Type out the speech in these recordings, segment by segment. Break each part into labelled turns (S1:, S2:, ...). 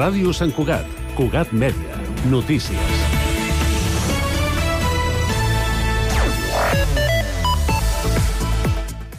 S1: Ràdio Sant Cugat, Cugat Mèdia, notícies.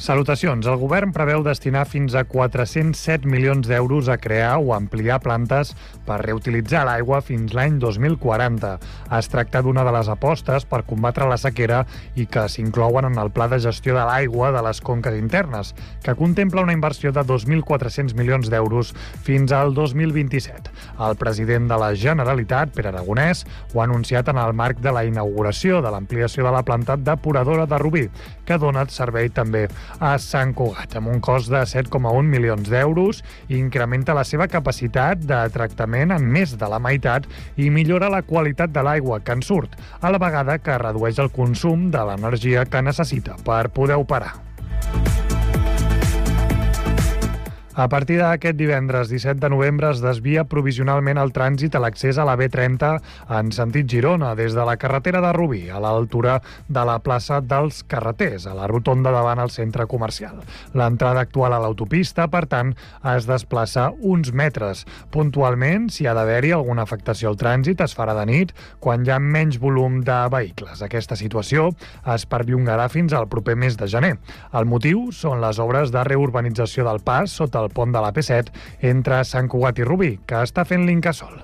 S2: Salutacions. El govern preveu destinar fins a 407 milions d'euros a crear o ampliar plantes per reutilitzar l'aigua fins l'any 2040. Es tracta d'una de les apostes per combatre la sequera i que s'inclouen en el Pla de Gestió de l'Aigua de les Conques Internes, que contempla una inversió de 2.400 milions d'euros fins al 2027. El president de la Generalitat, Pere Aragonès, ho ha anunciat en el marc de la inauguració de l'ampliació de la planta depuradora de Rubí, que dona servei també a Sant Cugat, amb un cost de 7,1 milions d'euros, incrementa la seva capacitat de tractament en més de la meitat i millora la qualitat de l'aigua que en surt, a la vegada que redueix el consum de l'energia que necessita per poder operar. A partir d'aquest divendres 17 de novembre es desvia provisionalment el trànsit a l'accés a la B30 en sentit Girona, des de la carretera de Rubí, a l'altura de la plaça dels Carreters, a la rotonda davant el centre comercial. L'entrada actual a l'autopista, per tant, es desplaça uns metres. Puntualment, si ha d'haver-hi alguna afectació al trànsit, es farà de nit, quan hi ha menys volum de vehicles. Aquesta situació es perllongarà fins al proper mes de gener. El motiu són les obres de reurbanització del pas sota del pont de la P7 entre Sant Cugat i Rubí, que està fent l'Incasol.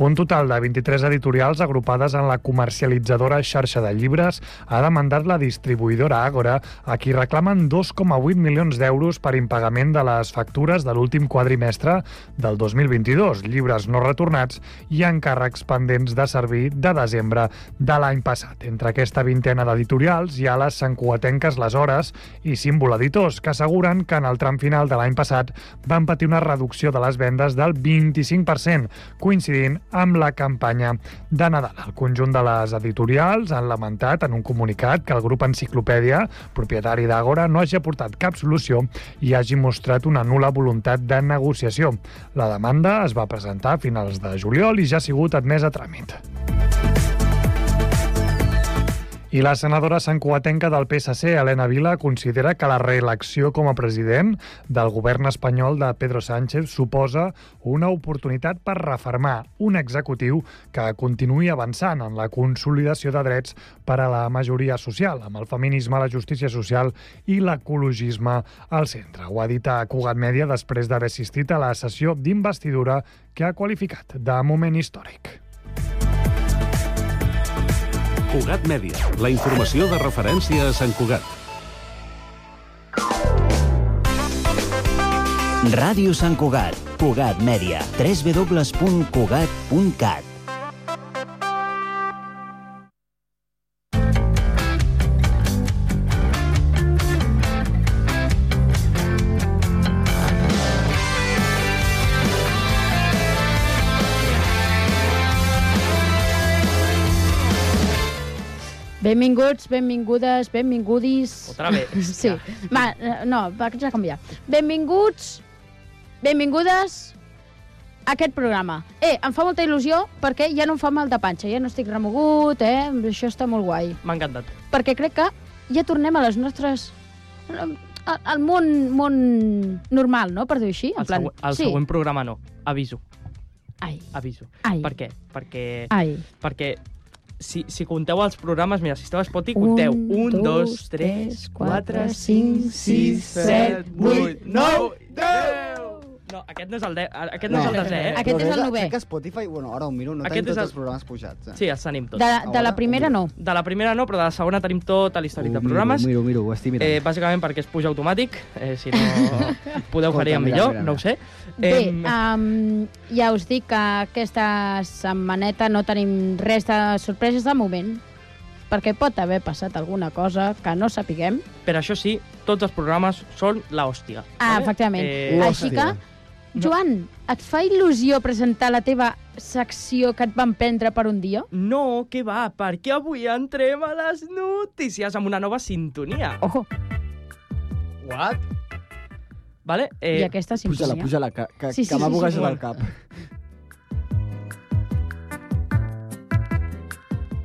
S2: Un total de 23 editorials agrupades en la comercialitzadora xarxa de llibres ha demandat la distribuïdora Àgora, a qui reclamen 2,8 milions d'euros per impagament de les factures de l'últim quadrimestre del 2022, llibres no retornats i encàrrecs pendents de servir de desembre de l'any passat. Entre aquesta vintena d'editorials hi ha les santcuatenques Les Hores i Símbol Editors, que asseguren que en el tram final de l'any passat van patir una reducció de les vendes del 25%, coincidint amb la campanya de Nadal. El conjunt de les editorials han lamentat en un comunicat que el grup Enciclopèdia, propietari d'Agora, no hagi aportat cap solució i hagi mostrat una nula voluntat de negociació. La demanda es va presentar a finals de juliol i ja ha sigut admesa a tràmit. I la senadora sancoatenca del PSC, Helena Vila, considera que la reelecció com a president del govern espanyol de Pedro Sánchez suposa una oportunitat per reformar un executiu que continuï avançant en la consolidació de drets per a la majoria social, amb el feminisme, la justícia social i l'ecologisme al centre. Ho ha dit a Cugat Mèdia després d'haver assistit a la sessió d'investidura que ha qualificat de moment històric.
S1: Cugat Mèdia, la informació de referència a Sant Cugat.
S3: Ràdio Sant Cugat, Cugat Mèdia, www.cugat.cat.
S4: Benvinguts, benvingudes, benvingudis...
S5: Otra vez.
S4: Sí. Va, no, vaig a canviar. Benvinguts, benvingudes a aquest programa. Eh, em fa molta il·lusió perquè ja no em fa mal de panxa, ja no estic remogut, eh? Això està molt guai.
S5: M'ha encantat.
S4: Perquè crec que ja tornem a les nostres... al al món, món normal, no?, per dir-ho així. En
S5: El, següent, el
S4: sí.
S5: següent programa no. Aviso.
S4: Ai,
S5: Aviso.
S4: ai,
S5: Per què? Perquè...
S4: ai.
S5: Perquè si, si compteu els programes, mira, si esteu a Spotify, compteu 1, 2, 3, 4, 5, 6, 7, 8, 9, 10! No, aquest no és el, de, aquest no,
S6: No.
S5: és el desè, eh?
S4: Aquest
S6: Però
S4: és el
S6: crec-
S4: novè.
S6: Crec que Spotify, bueno, ara ho miro, no
S5: Aquest
S6: tenim
S5: és
S6: tots
S5: el-
S6: els programes pujats. Eh?
S5: Sí, els tenim tots.
S4: De, la- de la
S6: Ahora,
S4: primera no.
S5: De la primera no, però de la segona tenim tota la història de programes.
S6: Miro, miro, ho estic mirant.
S5: Eh, bàsicament perquè es puja automàtic, eh, si no podeu
S6: Escolta,
S5: faria
S6: mira,
S5: millor,
S6: mira,
S5: no ho sé.
S4: Bé,
S5: Em,
S4: um, ja us dic que aquesta setmaneta no tenim res de sorpreses de moment, perquè pot haver passat alguna cosa que no sapiguem.
S5: Per això sí, tots els programes són la hòstia. Eh,
S4: Ah, efectivament.
S6: Hòstia.
S4: Així que, Joan, et fa il·lusió presentar la teva secció que et van prendre per un dia?
S5: No, què va, perquè avui entrem a les notícies amb una nova sintonia.
S4: Ojo,
S6: What?
S5: Vale?
S4: eh, i
S5: Eh,
S4: aquesta
S6: Puja-la,
S4: simfonia.
S6: puja-la, que, que,
S4: Sí, sí,
S6: que m'ha
S4: sí, sí,
S6: bugat
S4: sí.
S6: el cap.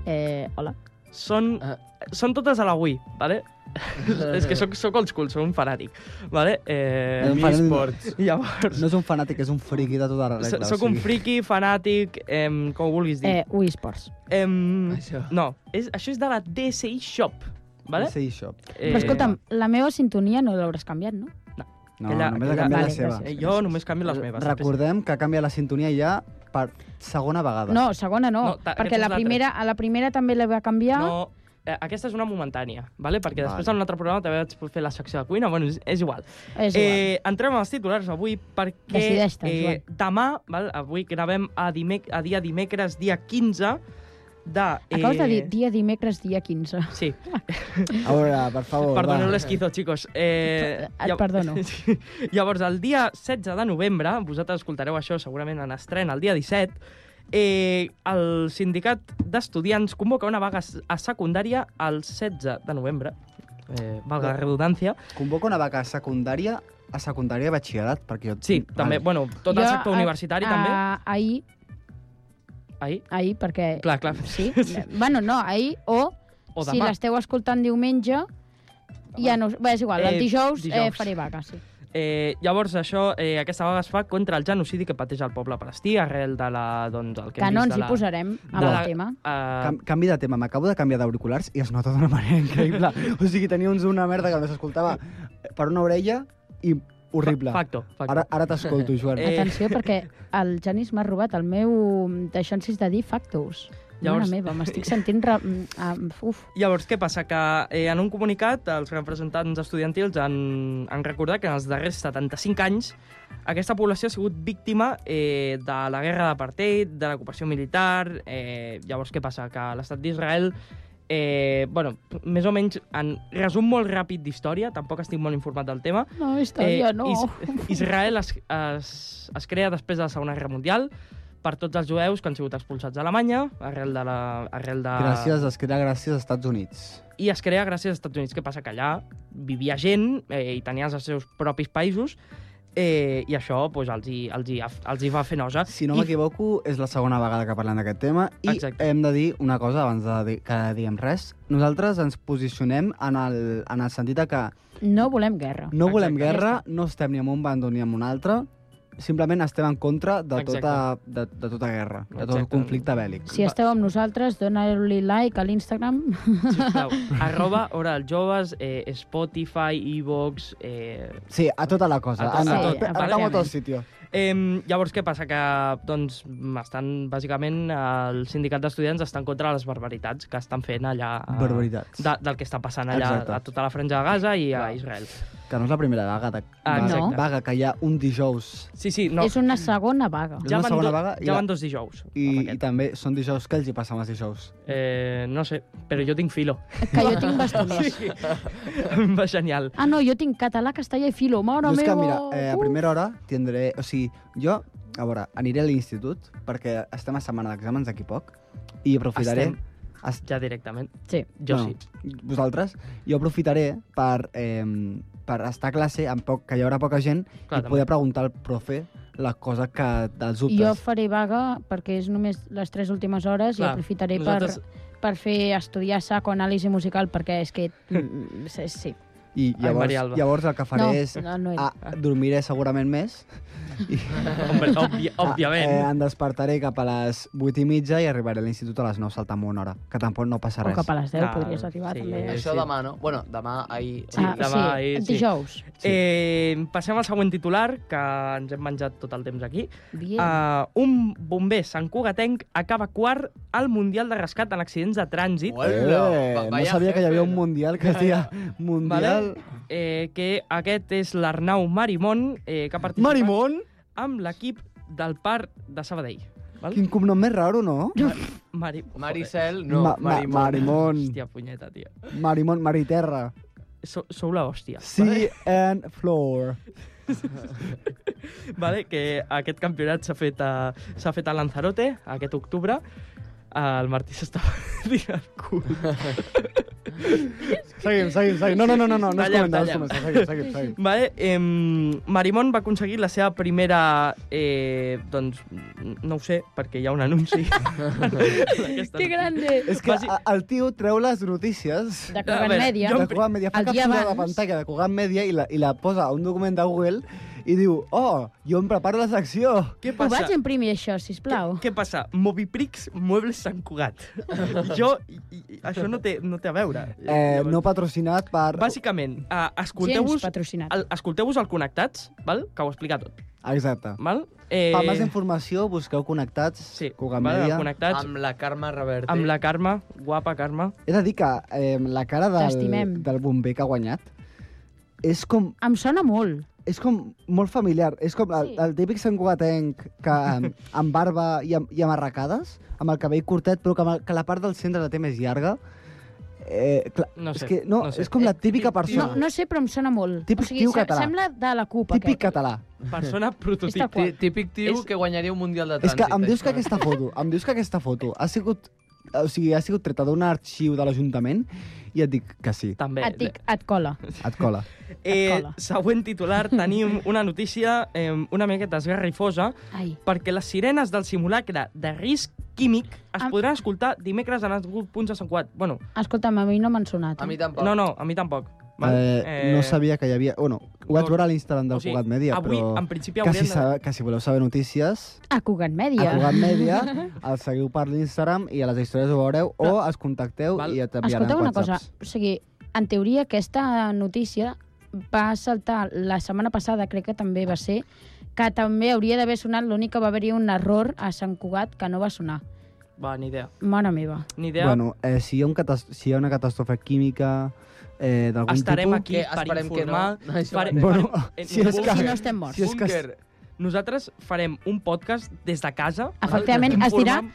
S4: Eh, hola.
S5: són,
S6: Ah.
S4: Eh,
S5: són totes a la Wii, vale? és que sóc, sóc old school, sóc un fanàtic. Vale? Eh,
S6: Un
S5: mi-
S6: fanàtic-
S5: esports. Llavors,
S6: No és un fanàtic, és un friki de tota la
S5: so-
S6: regla.
S5: sóc un friki, fanàtic, em, com ho vulguis dir.
S4: Eh, Wii Sports.
S5: Eh, em,
S6: Això.
S5: no, és, això és de la DSI Shop. Vale?
S6: Sí, això.
S5: Eh,
S4: Però escolta'm, la meva sintonia no l'hauràs canviat, no?
S6: No,
S5: Aquella-
S6: només ha
S5: aquella-
S6: canviat la
S4: Vale,
S6: seva.
S5: Eh, jo només canvio les meves.
S6: Recordem que canvia la sintonia ja per segona vegada.
S4: No, segona no,
S5: No, ta-
S4: perquè
S5: aquesta
S4: la
S5: és la
S4: primera, a la primera també la va canviar.
S5: No, eh, aquesta és una momentània, vale? perquè després
S6: Vale.
S5: en un altre programa també vaig fer la secció de cuina, bueno, és, és igual.
S4: És igual.
S5: Eh, entrem als titulars avui perquè
S4: Decideix-te,
S5: eh, demà, val? avui gravem a, dimec a dia dimecres, dia 15, de... Eh,
S4: Acabes de dir dia dimecres, dia 15.
S5: Sí,
S6: A veure, per favor,
S5: perdoneu
S6: Oh, va.
S5: l'esquizo, xicos. Eh,
S4: Et
S5: llav-
S4: perdono.
S5: Sí. Llavors, el dia 16 de novembre, vosaltres escoltareu això segurament en estrena, el dia 17, eh, el sindicat d'estudiants convoca una vaga a secundària el 16 de novembre, eh, valga la redundància.
S6: Convoca una vaca secundària a secundària de batxillerat, perquè jo...
S5: Sí, també,
S6: Vale.
S5: bueno, tot el
S4: Jo,
S5: sector
S4: a-
S5: universitari
S4: a,
S5: també.
S4: Ahir,
S5: Ahir,
S4: ahir, perquè...
S5: clar, clar.
S4: Sí? eh, bueno, no, ahir o,
S5: O
S4: si
S5: demà.
S4: l'esteu escoltant diumenge, ja no... Bé, és igual,
S5: Eh,
S4: el dijous, Eh,
S5: dijous.
S4: faré vaga, sí.
S5: Eh, llavors, això, eh, aquesta vaga es fa contra el genocidi que pateix el poble palestí arrel de la, doncs, el que,
S4: Que,
S5: hem
S4: no
S5: vist
S4: ens
S5: de la...
S4: hi posarem amb
S5: de
S4: el
S5: la-
S4: tema.
S5: Eh,
S6: Cam canvi de tema, m'acabo de canviar d'auriculars i es nota d'una manera increïble. o sigui, tenia uns una merda que no s'escoltava per una orella i horrible.
S5: fa- Facto, facto.
S6: Ara, ara t'escolto, Joan.
S5: Eh,
S4: Atenció, perquè el Janis m'ha robat el meu mm, deixancis de dir factos. Llavors...
S5: Llavors-
S4: Mare meva, m'estic sentint... Re... mm, ah, Uf,
S5: Llavors, què passa? Que eh, en un comunicat els representants estudiantils han, han recordat que en els darrers 75 anys aquesta població ha sigut víctima eh, de la guerra d'apartheid, de l'ocupació militar... Eh, llavors, què passa? Que l'estat d'Israel... Eh, bueno, més o menys, en resum molt ràpid d'història, tampoc estic molt informat del tema,
S4: no, història, no.
S5: Eh, Is Israel es, es, es crea després de la Segona Guerra Mundial per tots els jueus que han sigut expulsats d'Alemanya arrel de la... Arrel de...
S6: Gràcies, es crea gràcies als Estats Units.
S5: I es crea gràcies als Estats Units. Què passa? Que allà vivia gent eh, i tenia els seus propis països eh, i això pues, els, hi, els, hi, els hi va fer nosa.
S6: Si no
S5: I
S6: m'equivoco, és la segona vegada que parlem d'aquest tema i
S5: Exacte.
S6: hem de dir una cosa abans de dir, que diem res. Nosaltres ens posicionem en el, en el sentit de que
S4: No volem guerra.
S6: no volem
S5: Exacte.
S6: guerra, no estem ni en un bàndol ni en un altre, simplement estem en contra de
S5: Exacte.
S6: tota, de, de tota guerra, de tot
S5: Exacte.
S6: conflicte bèl·lic.
S4: Si esteu amb nosaltres, doneu-li like a l'Instagram.
S5: Sisplau, arroba Hora dels Joves, eh, Spotify, Evox... Eh...
S6: Sí, a tota la cosa.
S5: A tot-
S6: Anda,
S4: sí,
S6: sí,
S4: efectivament.
S6: a tot sitio.
S5: Em, llavors, què passa? Que, doncs, estan, bàsicament, el sindicat d'estudiants està en contra de les barbaritats que estan fent allà... a-
S6: Barbaritats.
S5: De, del que està passant allà
S6: Exacte.
S5: a tota la franja de Gaza i a Israel.
S6: Que no és la primera vaga, de,
S5: Ah,
S6: vaga-
S4: exacte.
S6: vaga que hi ha un dijous.
S5: Sí, sí, no.
S4: No. És una segona vaga.
S6: És una
S5: van,
S6: segona vaga i
S5: ja
S6: la-
S5: van dos dijous. amb
S6: I, i
S5: aquest.
S6: també són dijous que els hi passen els dijous.
S5: Eh, no sé, però jo tinc filo.
S4: Que jo tinc bastoners.
S5: Sí. Em va genial.
S4: Ah, no, jo tinc català, castellà i filo. Mare
S6: Jo és
S4: meva!
S6: que, mira, eh, a
S4: Uh!
S6: primera hora tindré... O sigui, jo, a veure, aniré a l'institut, perquè estem a setmana d'exàmens d'aquí poc, i aprofitaré...
S5: Estem.
S6: Es-
S5: Ja directament.
S4: Sí.
S5: Jo
S6: Bueno,
S5: sí.
S6: Vosaltres, jo aprofitaré per, eh, per estar a classe, amb poc, que hi haurà poca gent,
S5: Clar,
S6: i poder preguntar al profe la cosa que dels dubtes.
S4: Jo faré vaga perquè és només les tres últimes hores i
S5: Clar,
S4: aprofitaré
S5: nosaltres-
S4: per, per fer estudiar psicoanàlisi musical perquè és que... mm, sí, sí.
S6: I
S5: Ai,
S6: llavors,
S5: Maria Alba.
S6: llavors el que faré
S4: No,
S6: és...
S4: no, no he
S6: a, dormiré segurament més. I,
S5: Hombre, òbvia, òbviament.
S6: Eh, em despertaré cap a les 8 i mitja i arribaré a l'institut a les 9 saltant una hora, que tampoc no passa
S4: O
S6: res.
S4: cap a les 10
S5: Ah,
S4: podries arribar,
S5: sí.
S4: també.
S5: Eh,
S7: Això
S5: sí.
S7: demà, no? Bueno, demà, ahir...
S5: Sí,
S4: ah,
S5: demà,
S4: sí,
S5: ahir, sí.
S4: dijous.
S5: Sí. Eh, passem al següent titular, que ens hem menjat tot el temps aquí.
S4: Bien.
S5: Uh, un bomber santcugatenc acaba quart al Mundial de Rescat en accidents de trànsit,
S7: Hola,
S6: Eh,
S7: va-
S6: no
S7: vaya
S6: sabia que hi havia
S7: jefe.
S6: un mundial que es deia Mundial...
S5: Vale. eh, que aquest és l'Arnau Marimón, eh, que ha participat
S6: Marimón?
S5: amb l'equip del Parc de Sabadell. Val?
S6: Quin cognom més raro, no?
S5: Mari...
S7: Maricel, no,
S6: Ma- ma-
S7: Marimón.
S6: Marimón.
S5: Hòstia punyeta, tio.
S6: Marimón, Mariterra.
S5: So, sou la hòstia.
S6: Sea and Floor.
S5: Vale, que aquest campionat s'ha fet, a, s'ha fet a Lanzarote aquest octubre. El Martí s'estava tirant el cul.
S6: Seguim, seguim, seguim. No, no, no, no, no, no es
S5: Tallem,
S6: comenta, no es
S5: tallem.
S6: comenta. Seguim, seguim, seguim.
S5: Vale, eh, Marimon va aconseguir la seva primera... Eh, doncs, no ho sé, perquè hi ha un anunci. Aquesta-
S4: Que grande.
S6: És que
S5: Basi-
S6: a- el tio treu les notícies
S4: De
S5: A
S4: Cugat
S5: veure,
S4: Mèdia.
S5: jo-
S6: de Cugat Media, fa
S4: El dia
S6: captura de
S4: abans.
S6: pantalla de Cugat Media i la, i la posa a un document de Google i diu, oh, jo em preparo la secció.
S5: Què
S4: Ho
S5: passa?
S4: vaig imprimir, això, sisplau.
S5: Què passa? Moviprix, Muebles Sant Cugat. jo, i, i, això no té, no té a veure.
S6: Eh,
S5: Llavors,
S6: no patrocinat per...
S5: Bàsicament, eh,
S4: Gens
S5: escolteu-vos
S4: patrocinat.
S5: el, escolteu-vos el Connectats, val? que ho explica tot.
S6: Exacte.
S5: Val? Eh,
S6: Per més informació, busqueu Connectats,
S5: sí,
S6: Cugat
S5: val,
S6: Media.
S5: Connectats, amb,
S7: Amb la Carme Reverte.
S5: amb la Carme, guapa Carme.
S6: He de dir que eh, la cara del,
S4: T'estimem.
S6: del bomber que ha guanyat és com,
S4: Em sona molt.
S6: és com molt familiar. És com el,
S4: Sí.
S6: el típic santcugatenc que amb, amb barba i amb, i amb arracades, amb el cabell curtet, però que, amb el, que la part del centre la té més llarga. Eh, clar,
S5: No sé,
S6: és que no,
S5: no sé.
S6: és com la típica persona.
S4: No, no sé, però em sona molt.
S6: Típic tio
S4: se-
S6: català.
S4: Sembla de la CUP,
S6: típic
S4: aquest.
S6: català.
S5: Persona
S4: Està
S5: prototip.
S4: qual.
S7: Tí- Típic tio
S5: És-
S7: que guanyaria un mundial de
S6: És
S7: trànsit.
S6: que em dius que
S7: això. eh?
S6: aquesta foto, em dius que aquesta foto ha sigut o sigui, ha sigut treta d'un arxiu de l'Ajuntament i et dic que sí,
S5: També.
S4: Et dic, et cola.
S6: et cola.
S5: Eh,
S4: Escola.
S5: següent titular, tenim una notícia eh, una miqueta esgarrifosa,
S4: Ai.
S5: perquè les sirenes del simulacre de risc químic es
S4: Am-
S5: podran escoltar dimecres en alguns punts de Sant Cugat. Bueno,
S4: Escolta'm, a mi no m'han sonat. eh?
S7: A mi tampoc.
S5: no, no, a mi tampoc. val?
S6: Eh, no sabia que hi havia... Bueno, ho vaig
S5: no-
S6: veure a l'Instagram del
S5: o sigui,
S6: Cugat Media,
S5: avui,
S6: però...
S5: en principi,
S6: Que si,
S5: haurien de...
S6: sa- que si voleu saber notícies,
S4: A Cugat
S6: a
S4: Mèdia.
S6: Cugat Media, el seguiu per l'Instagram i a les històries ho veureu, o els contacteu
S5: Val.
S6: i et enviaran
S4: Escolteu una cosa,
S6: whatsapps.
S4: o sigui, en teoria aquesta notícia va saltar la setmana passada, crec que també va ser, que també hauria d'haver sonat, l'únic que va haver-hi un error a Sant Cugat que no va sonar.
S5: Va, ni idea.
S4: Mare meva.
S5: Ni idea. Bueno,
S6: Bueno, eh, si, hi ha un catas- si hi ha una catàstrofe química eh, d'algun tipus...
S5: Estarem aquí
S7: Que
S5: per
S7: esperem que no.
S5: informar.
S7: Això
S5: Farem-
S7: mateix.
S6: Bueno,
S5: Eh,
S6: si és
S5: no
S6: que...
S4: Si no estem morts.
S6: Si és que
S7: Búnquer.
S5: Nosaltres farem un podcast des de casa.
S4: Efectivament, es dirà
S5: Informam-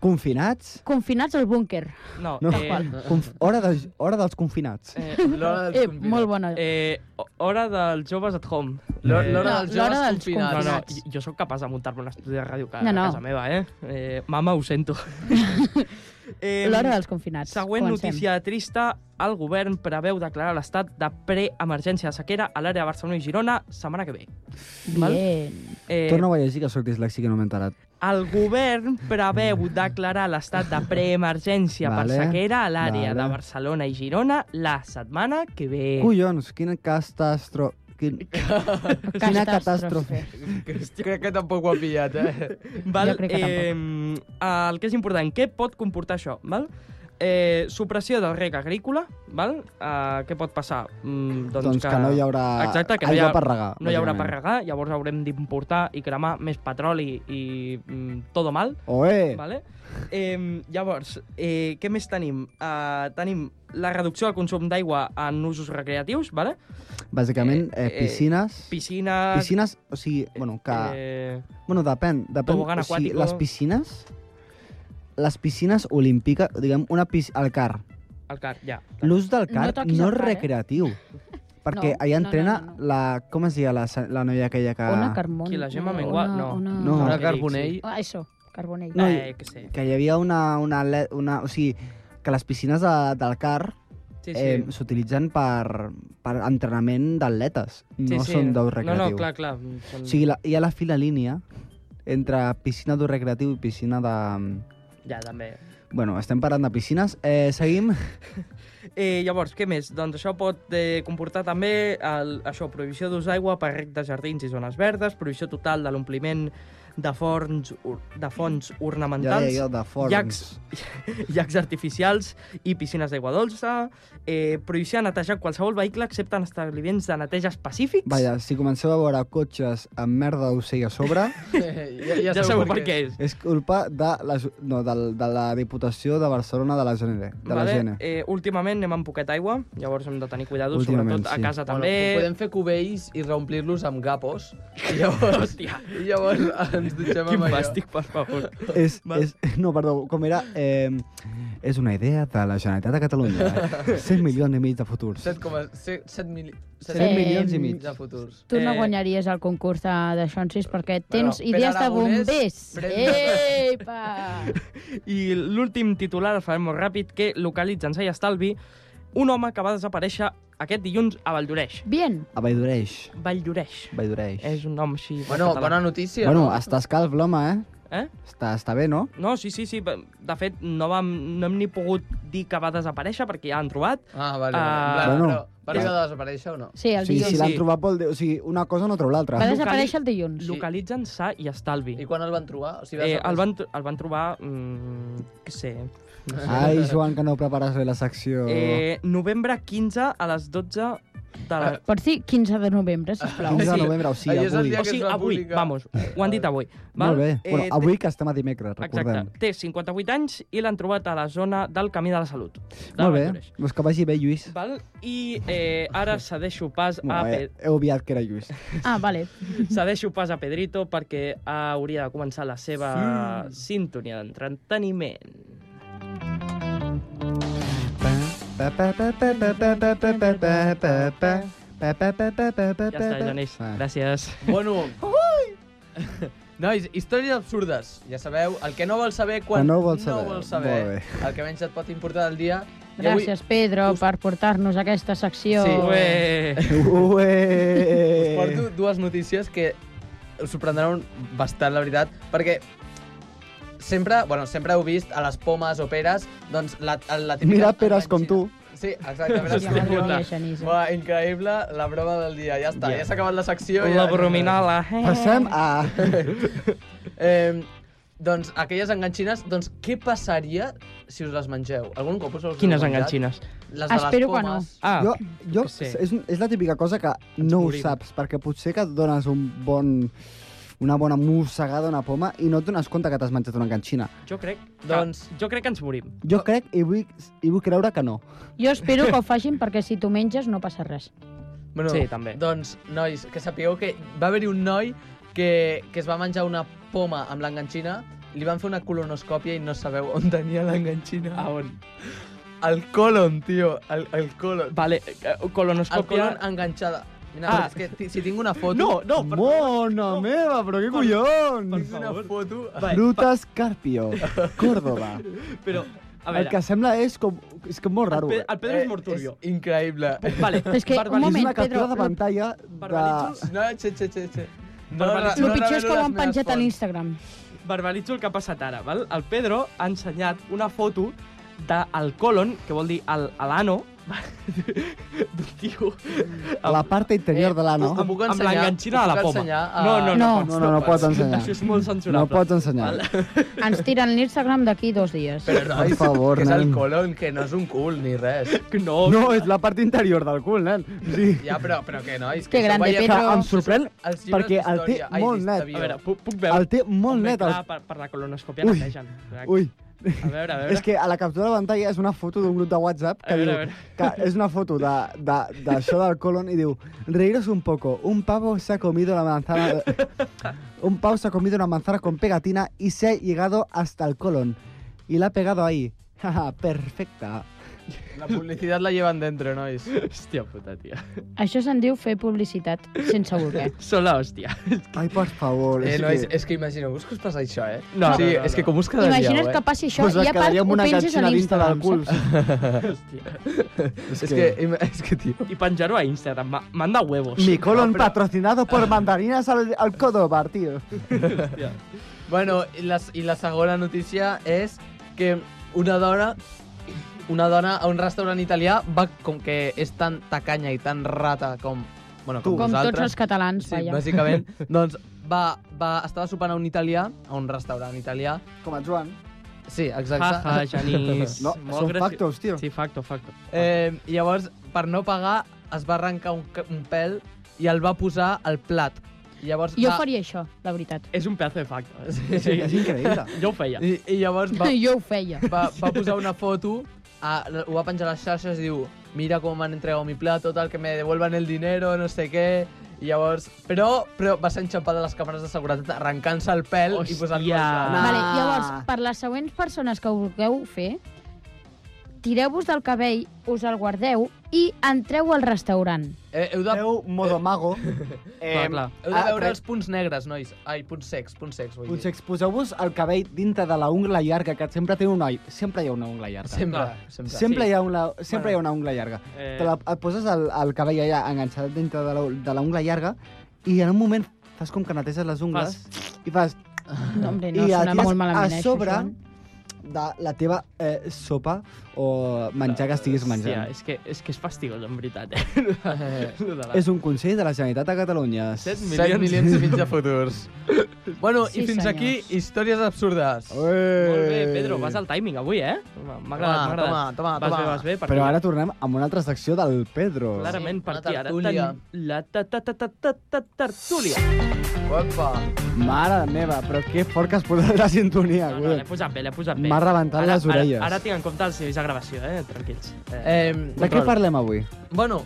S6: Confinats,
S4: confinats al búnquer.
S5: No,
S6: No.
S5: eh,
S6: Conf hora, de, hora dels confinats.
S5: eh,
S7: L'hora dels
S4: Eh,
S7: convidats.
S4: molt bona.
S5: eh, hora dels joves at home.
S7: L'hora
S5: Eh,
S7: l'hora
S4: No,
S7: dels
S4: l'hora
S7: joves
S4: dels
S5: No,
S7: confinats.
S5: no,
S4: Confinats.
S5: jo sóc capaç de muntar-me un estudi de ràdio a,
S4: No, no.
S5: no, no. casa meva, eh? eh mama, ho sento. eh,
S4: L'hora dels confinats.
S5: Següent
S4: Comencem.
S5: notícia trista. El govern preveu declarar l'estat de preemergència de sequera a l'àrea de Barcelona i Girona setmana que ve. Val?
S4: Bien.
S5: Eh,
S6: Torna a llegir que sóc dislèxic i no m'he enterat.
S5: El govern preveu declarar l'estat de preemergència
S6: Vale,
S5: per sequera a l'àrea
S6: vale.
S5: de Barcelona i Girona la setmana que ve.
S6: Collons, quina catastro... Quin...
S5: Eh,
S6: Quina catàstrofe.
S7: Crec que tampoc ho ha pillat, eh?
S5: Val?
S4: Jo crec que
S5: eh, el que és important, què pot comportar això? Val? Eh, supressió del rec agrícola, val? Eh, què pot passar? Mm,
S6: Doncs, que... no hi haurà
S5: Exacte, que no hi
S6: aigua
S5: ha-
S6: per regar.
S5: No hi haurà per
S6: bàsicament.
S5: regar, llavors haurem d'importar i cremar més petroli i mm, todo mal.
S6: Oe!
S5: Vale? Eh, llavors, eh, què més tenim? Eh, tenim la reducció del consum d'aigua en usos recreatius, vale?
S6: Bàsicament,
S5: Eh,
S6: eh,
S5: eh,
S6: piscines...
S5: piscines...
S6: Piscines, o sigui, bueno, que...
S5: Eh,
S6: Bueno, depèn, depèn.
S5: Tobogán
S6: o sigui,
S5: aquàtico.
S6: les piscines... Les piscines olímpiques, diguem, una pis... el car.
S5: el car, ja.
S6: L'ús del
S4: No
S6: car no,
S4: toquis el
S6: és
S4: car, eh?
S6: recreatiu. Perquè
S4: No,
S6: allà
S4: no, no,
S6: entrena
S4: no,
S6: la... Com es deia la, la noia aquella que...
S4: Una Carmona.
S5: Qui la Gemma Mengual? No.
S4: Una...
S6: No.
S7: Ara
S5: que dic,
S7: Carbonell...
S4: Ah, això, Carbonell.
S5: No,
S6: No,
S5: eh, que sé.
S6: que hi havia una... una, le- una o sigui, que les piscines de, del CAR
S5: Sí, sí.
S6: eh, s'utilitzen per, per entrenament d'atletes, no són d'ús recreatiu.
S5: No, no, clar, clar. Són...
S6: O sigui, la, hi ha la fila línia entre piscina d'ús recreatiu i piscina de...
S5: Ja, també.
S6: Bueno, estem parlant de piscines. Eh, seguim.
S5: Eh, llavors, què més? Doncs això pot eh, comportar també el, això, prohibició d'ús d'aigua per rec de jardins i zones verdes, prohibició total de l'ompliment de forns, or- de fonts
S6: Ja
S5: ornamentals,
S6: deia jo, de forns.
S5: Llacs. llacs artificials i piscines d'aigua dolça, eh, prohibició de netejar qualsevol vehicle excepte en establiments de neteja específics.
S6: Vaja, si comenceu a veure cotxes amb merda d'ocell a sobre,
S7: ja,
S5: ja, ja sabeu per què és.
S6: és culpa de la, no, de, de la Diputació de Barcelona de la GNR. De la GNR.
S5: Eh, últimament anem amb poqueta aigua, llavors hem de tenir cuidado,
S6: Últimament,
S5: sobretot a
S6: sí.
S5: casa
S7: Bueno,
S5: també.
S7: podem fer cubells i reomplir-los amb gapos. I llavors,
S5: Hòstia,
S7: i llavors ens dutxem
S5: quin
S7: amb allò.
S5: fàstic, per favor.
S6: És,
S5: Val.
S6: és, no, perdó, com era? Eh, és una idea de la Generalitat de Catalunya. 100 milions i mig de futurs.
S7: 7,7 mili...
S6: Set
S4: Eh,
S6: milions i
S4: em-
S6: mig.
S7: de futurs.
S4: Tu no
S5: Eh,
S4: guanyaries el concurs de, de Xonsis perquè tens
S7: Pere
S4: idees de
S7: Aragonès,
S4: bombers.
S7: pren-
S4: Epa!
S5: I l'últim titular el farem molt ràpid, que localitza en i estalvi un home que va desaparèixer aquest dilluns a Valldoreix.
S4: Bien.
S6: A Valldoreix.
S5: Valldoreix.
S6: Valldoreix.
S5: És un nom així... de
S7: Bueno,
S5: català.
S7: bona notícia,
S6: Bueno,
S7: no?
S6: està escalf l'home, eh?
S5: Eh?
S6: Està, està bé, no?
S5: No, sí, sí, sí. De fet, no, vam, no hem ni pogut dir que va desaparèixer perquè ja l'han trobat.
S7: Ah, vale.
S5: Ah, Eh.
S7: Uh,
S6: Bueno.
S7: bueno, però, va arribar a desaparèixer o no?
S4: Sí, el
S6: sí,
S4: dilluns.
S6: si l'han
S5: sí.
S6: trobat vol dir... O sigui, una cosa no treu l'altra.
S4: Va
S5: Locali-
S4: desaparèixer el dilluns.
S5: Localitzen sa i estalvi.
S7: I quan el van trobar? O sigui, va
S5: Eh,
S7: desaparèixer.
S5: el, van, tr- el van trobar... Mm, què sé...
S6: Ai, Joan, que no prepares bé la secció.
S5: Eh, novembre 15 a les 12 de
S7: Ah,
S5: la...
S4: Pots dir 15 de novembre, sisplau.
S6: 15 de
S5: sí.
S6: novembre, o sigui,
S7: Ahir és el
S6: avui.
S7: dia
S5: O sigui,
S7: es va
S5: avui,
S7: publicar.
S5: vamos, ho han dit avui.
S6: Molt bé.
S5: Eh,
S6: bueno, avui que estem a dimecres,
S5: té- Exacte.
S6: recordem.
S5: Té 58 anys i l'han trobat a la zona del Camí de la Salut. de
S6: Molt bé.
S5: Valldoreix.
S6: Doncs que vagi bé, Lluís.
S5: Val? I eh, ara cedeixo pas a,
S6: Bueno,
S5: Pe-
S6: eh, he obviat que era Lluís.
S4: Ah, vale.
S5: Cedeixo pas a Pedrito perquè hauria de començar la seva sí. sintonia d'entreteniment. Ja està, Genís.
S6: Ah.
S5: Gràcies.
S7: Bueno... Nois, històries absurdes. Ja sabeu, el que no vol saber quan
S6: Que no ho vols saber.
S7: No vol
S6: Molt
S7: saber
S6: bé.
S7: el que menys et pot importar del dia. I avui-
S4: Gràcies, Pedro,
S7: us-
S4: per portar-nos a aquesta secció.
S7: Sí.
S5: Ué.
S7: Us
S6: Ué!
S7: porto dues notícies que us sorprendran bastant, la veritat, perquè sempre, bueno, sempre heu vist a les pomes o peres, doncs la, la típica...
S6: Mira peres com tu.
S7: Sí, exacte, peres
S4: Hòstia,
S7: com
S4: madre
S7: tu.
S4: mía, Genís.
S7: Buah, increïble, la broma del dia. Ja està,
S5: Ja.
S7: ja s'ha acabat la secció.
S5: La
S7: ja...
S5: brominala.
S6: Passem a...
S7: Eh, doncs aquelles enganxines, doncs què passaria si us les mengeu? Algun cop us les heu
S5: Quines
S7: menjat?
S5: enganxines?
S7: Les de
S4: Espero
S7: les
S4: que no.
S7: pomes.
S5: Ah,
S6: Jo,
S5: jo...
S6: jo,
S5: que sé.
S6: és, és la típica cosa que no ho
S5: morim.
S6: saps, perquè potser que et dones un bon una bona mossegada a una poma i no et dones compte que t'has menjat una enganxina.
S5: jo crec...
S7: Doncs-
S5: Que, jo crec que ens morim.
S6: Jo crec i vull, i vull creure que no.
S4: Jo espero que ho facin perquè si tu menges no passa res.
S7: Bueno,
S5: Sí, també.
S7: Doncs, nois, que sapigueu que va haver-hi un noi que, que es va menjar una poma amb l'enganxina, li van fer una colonoscòpia i no sabeu on tenia l'enganxina.
S5: A on?
S7: El colon, tio, el, el colon.
S5: Vale, eh,
S7: El colon
S5: colonoscòpia...
S7: enganxada. Mira,
S5: Ah.
S7: ah. és que ti- si tinc una foto...
S5: No, no, per...
S6: Mona meva, però què collons!
S7: Tinc una foto...
S5: Va,
S6: Fruta Escarpio, Córdoba.
S5: però... A
S6: El
S5: veure,
S6: que sembla és com... És com molt
S5: el,
S6: raro.
S5: Pe-
S6: eh?
S5: el Pedro és molt turbio.
S7: És increïble.
S5: Vale,
S4: Però és que, un
S5: verbalitzo-
S6: És
S4: moment,
S6: una captura
S4: Pedro,
S6: de
S4: lo-
S6: pantalla de...
S5: verbalitzo-
S7: No, xe, xe, xe, xe. No,
S5: Barbaritzar.
S4: El
S5: No
S4: pitjor és que ho
S7: revelo
S4: han
S7: les
S4: penjat
S7: meves
S4: a
S7: fonts.
S4: l'Instagram.
S5: verbalitzo el que ha passat ara, val? El Pedro ha ensenyat una foto del colon, que vol dir el, a l'ano, d'un tio...
S6: La part
S5: Eh,
S6: interior de l'ano.
S7: Ho puc
S5: amb
S7: ensenyar?
S5: l'enganxina
S7: Ho
S5: a la
S7: puc
S5: poma.
S7: ensenyar a-
S5: No, no, no,
S4: No.
S5: pots,
S6: No, no, no pots ensenyar.
S5: Això és molt censurable.
S6: No pots ensenyar.
S4: Ens tiren l'Instagram d'aquí dos dies.
S7: Però no,
S6: Per favor,
S7: que és el
S6: nen.
S7: colon, que no és un cul ni res.
S5: No, no.
S6: No, és la part interior del cul, nen. O sigui,
S7: Ja, però, però que nois,
S4: Que
S7: això ho
S4: grande,
S7: veiem-
S6: que
S4: Pedro.
S6: em sorprèn
S7: Els llibres
S6: perquè el té
S7: d'història. Ai,
S6: molt
S7: vist,
S6: net.
S7: avió.
S5: A veure, puc, puc veure?
S6: El té molt
S5: Home,
S6: net.
S5: Clar,
S6: El...
S5: per, per la colonoscòpia
S6: Ui.
S5: netegen. clar.
S6: Ui,
S5: A veure, a veure.
S6: és que a la captura de pantalla és una foto d'un grup de WhatsApp que
S5: A veure, a
S6: diu... Que és una foto d'això de, de, d'això del colon i diu Reiros un poco, un pavo se ha comido la manzana... Un pavo se ha comido una manzana con pegatina y se ha llegado hasta el colon. Y la ha pegado ahí. Jaja, perfecta.
S7: La publicitat la llevan dentro, nois.
S5: Hòstia puta, tia.
S4: Això se'n diu fer publicitat sense voler.
S5: Són la hòstia.
S6: Ai, por favor.
S7: Eh,
S6: és
S7: nois,
S6: que-
S7: és que imagineu-vos que us passa això, eh?
S5: No,
S7: sí,
S5: no, no,
S7: és que
S5: no.
S7: com us quedaríeu,
S4: Imagina't
S7: eh?
S4: que passi això
S6: Pues
S4: i
S6: es
S4: a part
S6: quedaria amb
S4: ho
S6: una
S4: penges a
S6: gatxina dintre del
S4: l'Instagram.
S6: cul.
S4: saps?
S5: Hòstia.
S7: És que, im- és que tio...
S5: I penjar-ho a Instagram. ma- Manda huevos.
S6: Mi colon
S7: No, però-
S6: patrocinado por mandarinas al, al Codobar, tío.
S5: Hòstia.
S7: Bueno, i la, i la segona notícia és que una dona una dona a un restaurant italià va, com que és tan tacanya i tan rata com, bueno, com,
S4: Com tots
S7: vosaltres,
S4: els catalans,
S7: sí,
S4: vaja.
S7: bàsicament, doncs va, va, estava sopant a un italià, a un restaurant italià,
S6: Com el Joan.
S7: sí, exacte,
S5: Ja, ja, Genís.
S6: No,
S5: Molt
S6: són
S5: graci-
S6: factos, tio.
S5: Sí, facto, facto.
S7: Eh, llavors, per no pagar, es va arrencar un, ca- un pèl i el va posar al plat. Llavors
S4: Jo
S7: va...
S4: faria això, la veritat.
S5: És un pedazo de facto. eh?
S7: Sí.
S6: És increïble.
S5: Jo ho feia.
S7: I, I llavors va,
S4: Jo ho feia.
S7: va, va posar una foto, a, ho va penjar a les xarxes i diu mira com m'han entregat mi plat, total, que me devuelvan el dinero, no sé què... I llavors... Però, però va ser enxampat a les càmeres de seguretat, arrencant-se el pèl i posant-lo
S5: Hòstia.
S7: al plat.
S6: Ah.
S4: Vale, llavors, per les següents persones que ho vulgueu fer, tireu-vos del cabell, us el guardeu i entreu al restaurant.
S7: Eh, heu de... Heu...
S6: Feu modo mago.
S7: Clar, clar. Heu de
S6: ah,
S7: veure
S6: re-
S7: els punts negres, nois. Ai, punts secs, punts secs, vull
S6: Potser exposeu-vos el cabell dintre de la ungla llarga, que sempre té un ull. Sempre hi ha una ungla
S7: dir.
S6: llarga.
S7: Sempre,
S5: Clar.
S7: sempre.
S6: Sempre,
S5: Sí.
S6: hi, ha una,
S5: Bueno.
S6: sempre hi ha una ungla llarga.
S5: Eh,
S6: Te la, et poses el, el cabell allà enganxat dintre de la, de la ungla llarga i en un moment fas com que neteses les ungles i fas
S4: No, hombre, no,
S6: I
S4: sona
S6: tires
S4: molt malament, eh,
S6: a
S4: això,
S6: sobre
S4: Joan.
S6: de la teva eh, sopa o menjar que estiguis
S5: Hòstia,
S6: menjant.
S5: és que, és que és fastigós, en veritat. Eh? Lo de la-
S6: És un consell de la Generalitat de Catalunya.
S5: Set
S7: 7 milions i mig de futurs. bueno,
S4: Sí,
S7: i fins
S4: senyors.
S7: aquí, històries absurdes.
S5: Molt bé, Pedro, vas al timing avui, eh? M'ha m'ha agradat, m'ha agradat.
S7: Toma,
S5: Vas
S7: toma, Ah, toma.
S5: bé, vas bé. Per
S6: Però
S5: tu.
S6: ara tornem amb una altra secció del Pedro.
S5: Clarament,
S7: Sí,
S5: per
S7: una
S5: aquí ara
S7: tertúlia.
S5: tenim la ta ta ta ta ta ta tertúlia.
S7: Opa.
S6: Mare meva, però que fort que has posat la sintonia.
S5: No, no,
S6: güey.
S5: l'he posat bé, l'he posat bé.
S6: M'ha rebentat
S5: Ara-
S6: les orelles.
S5: Ara, ara tinc en compte els nivells de gravació, eh? Tranquils.
S7: Eh,
S6: De què parlem avui?
S7: Bueno,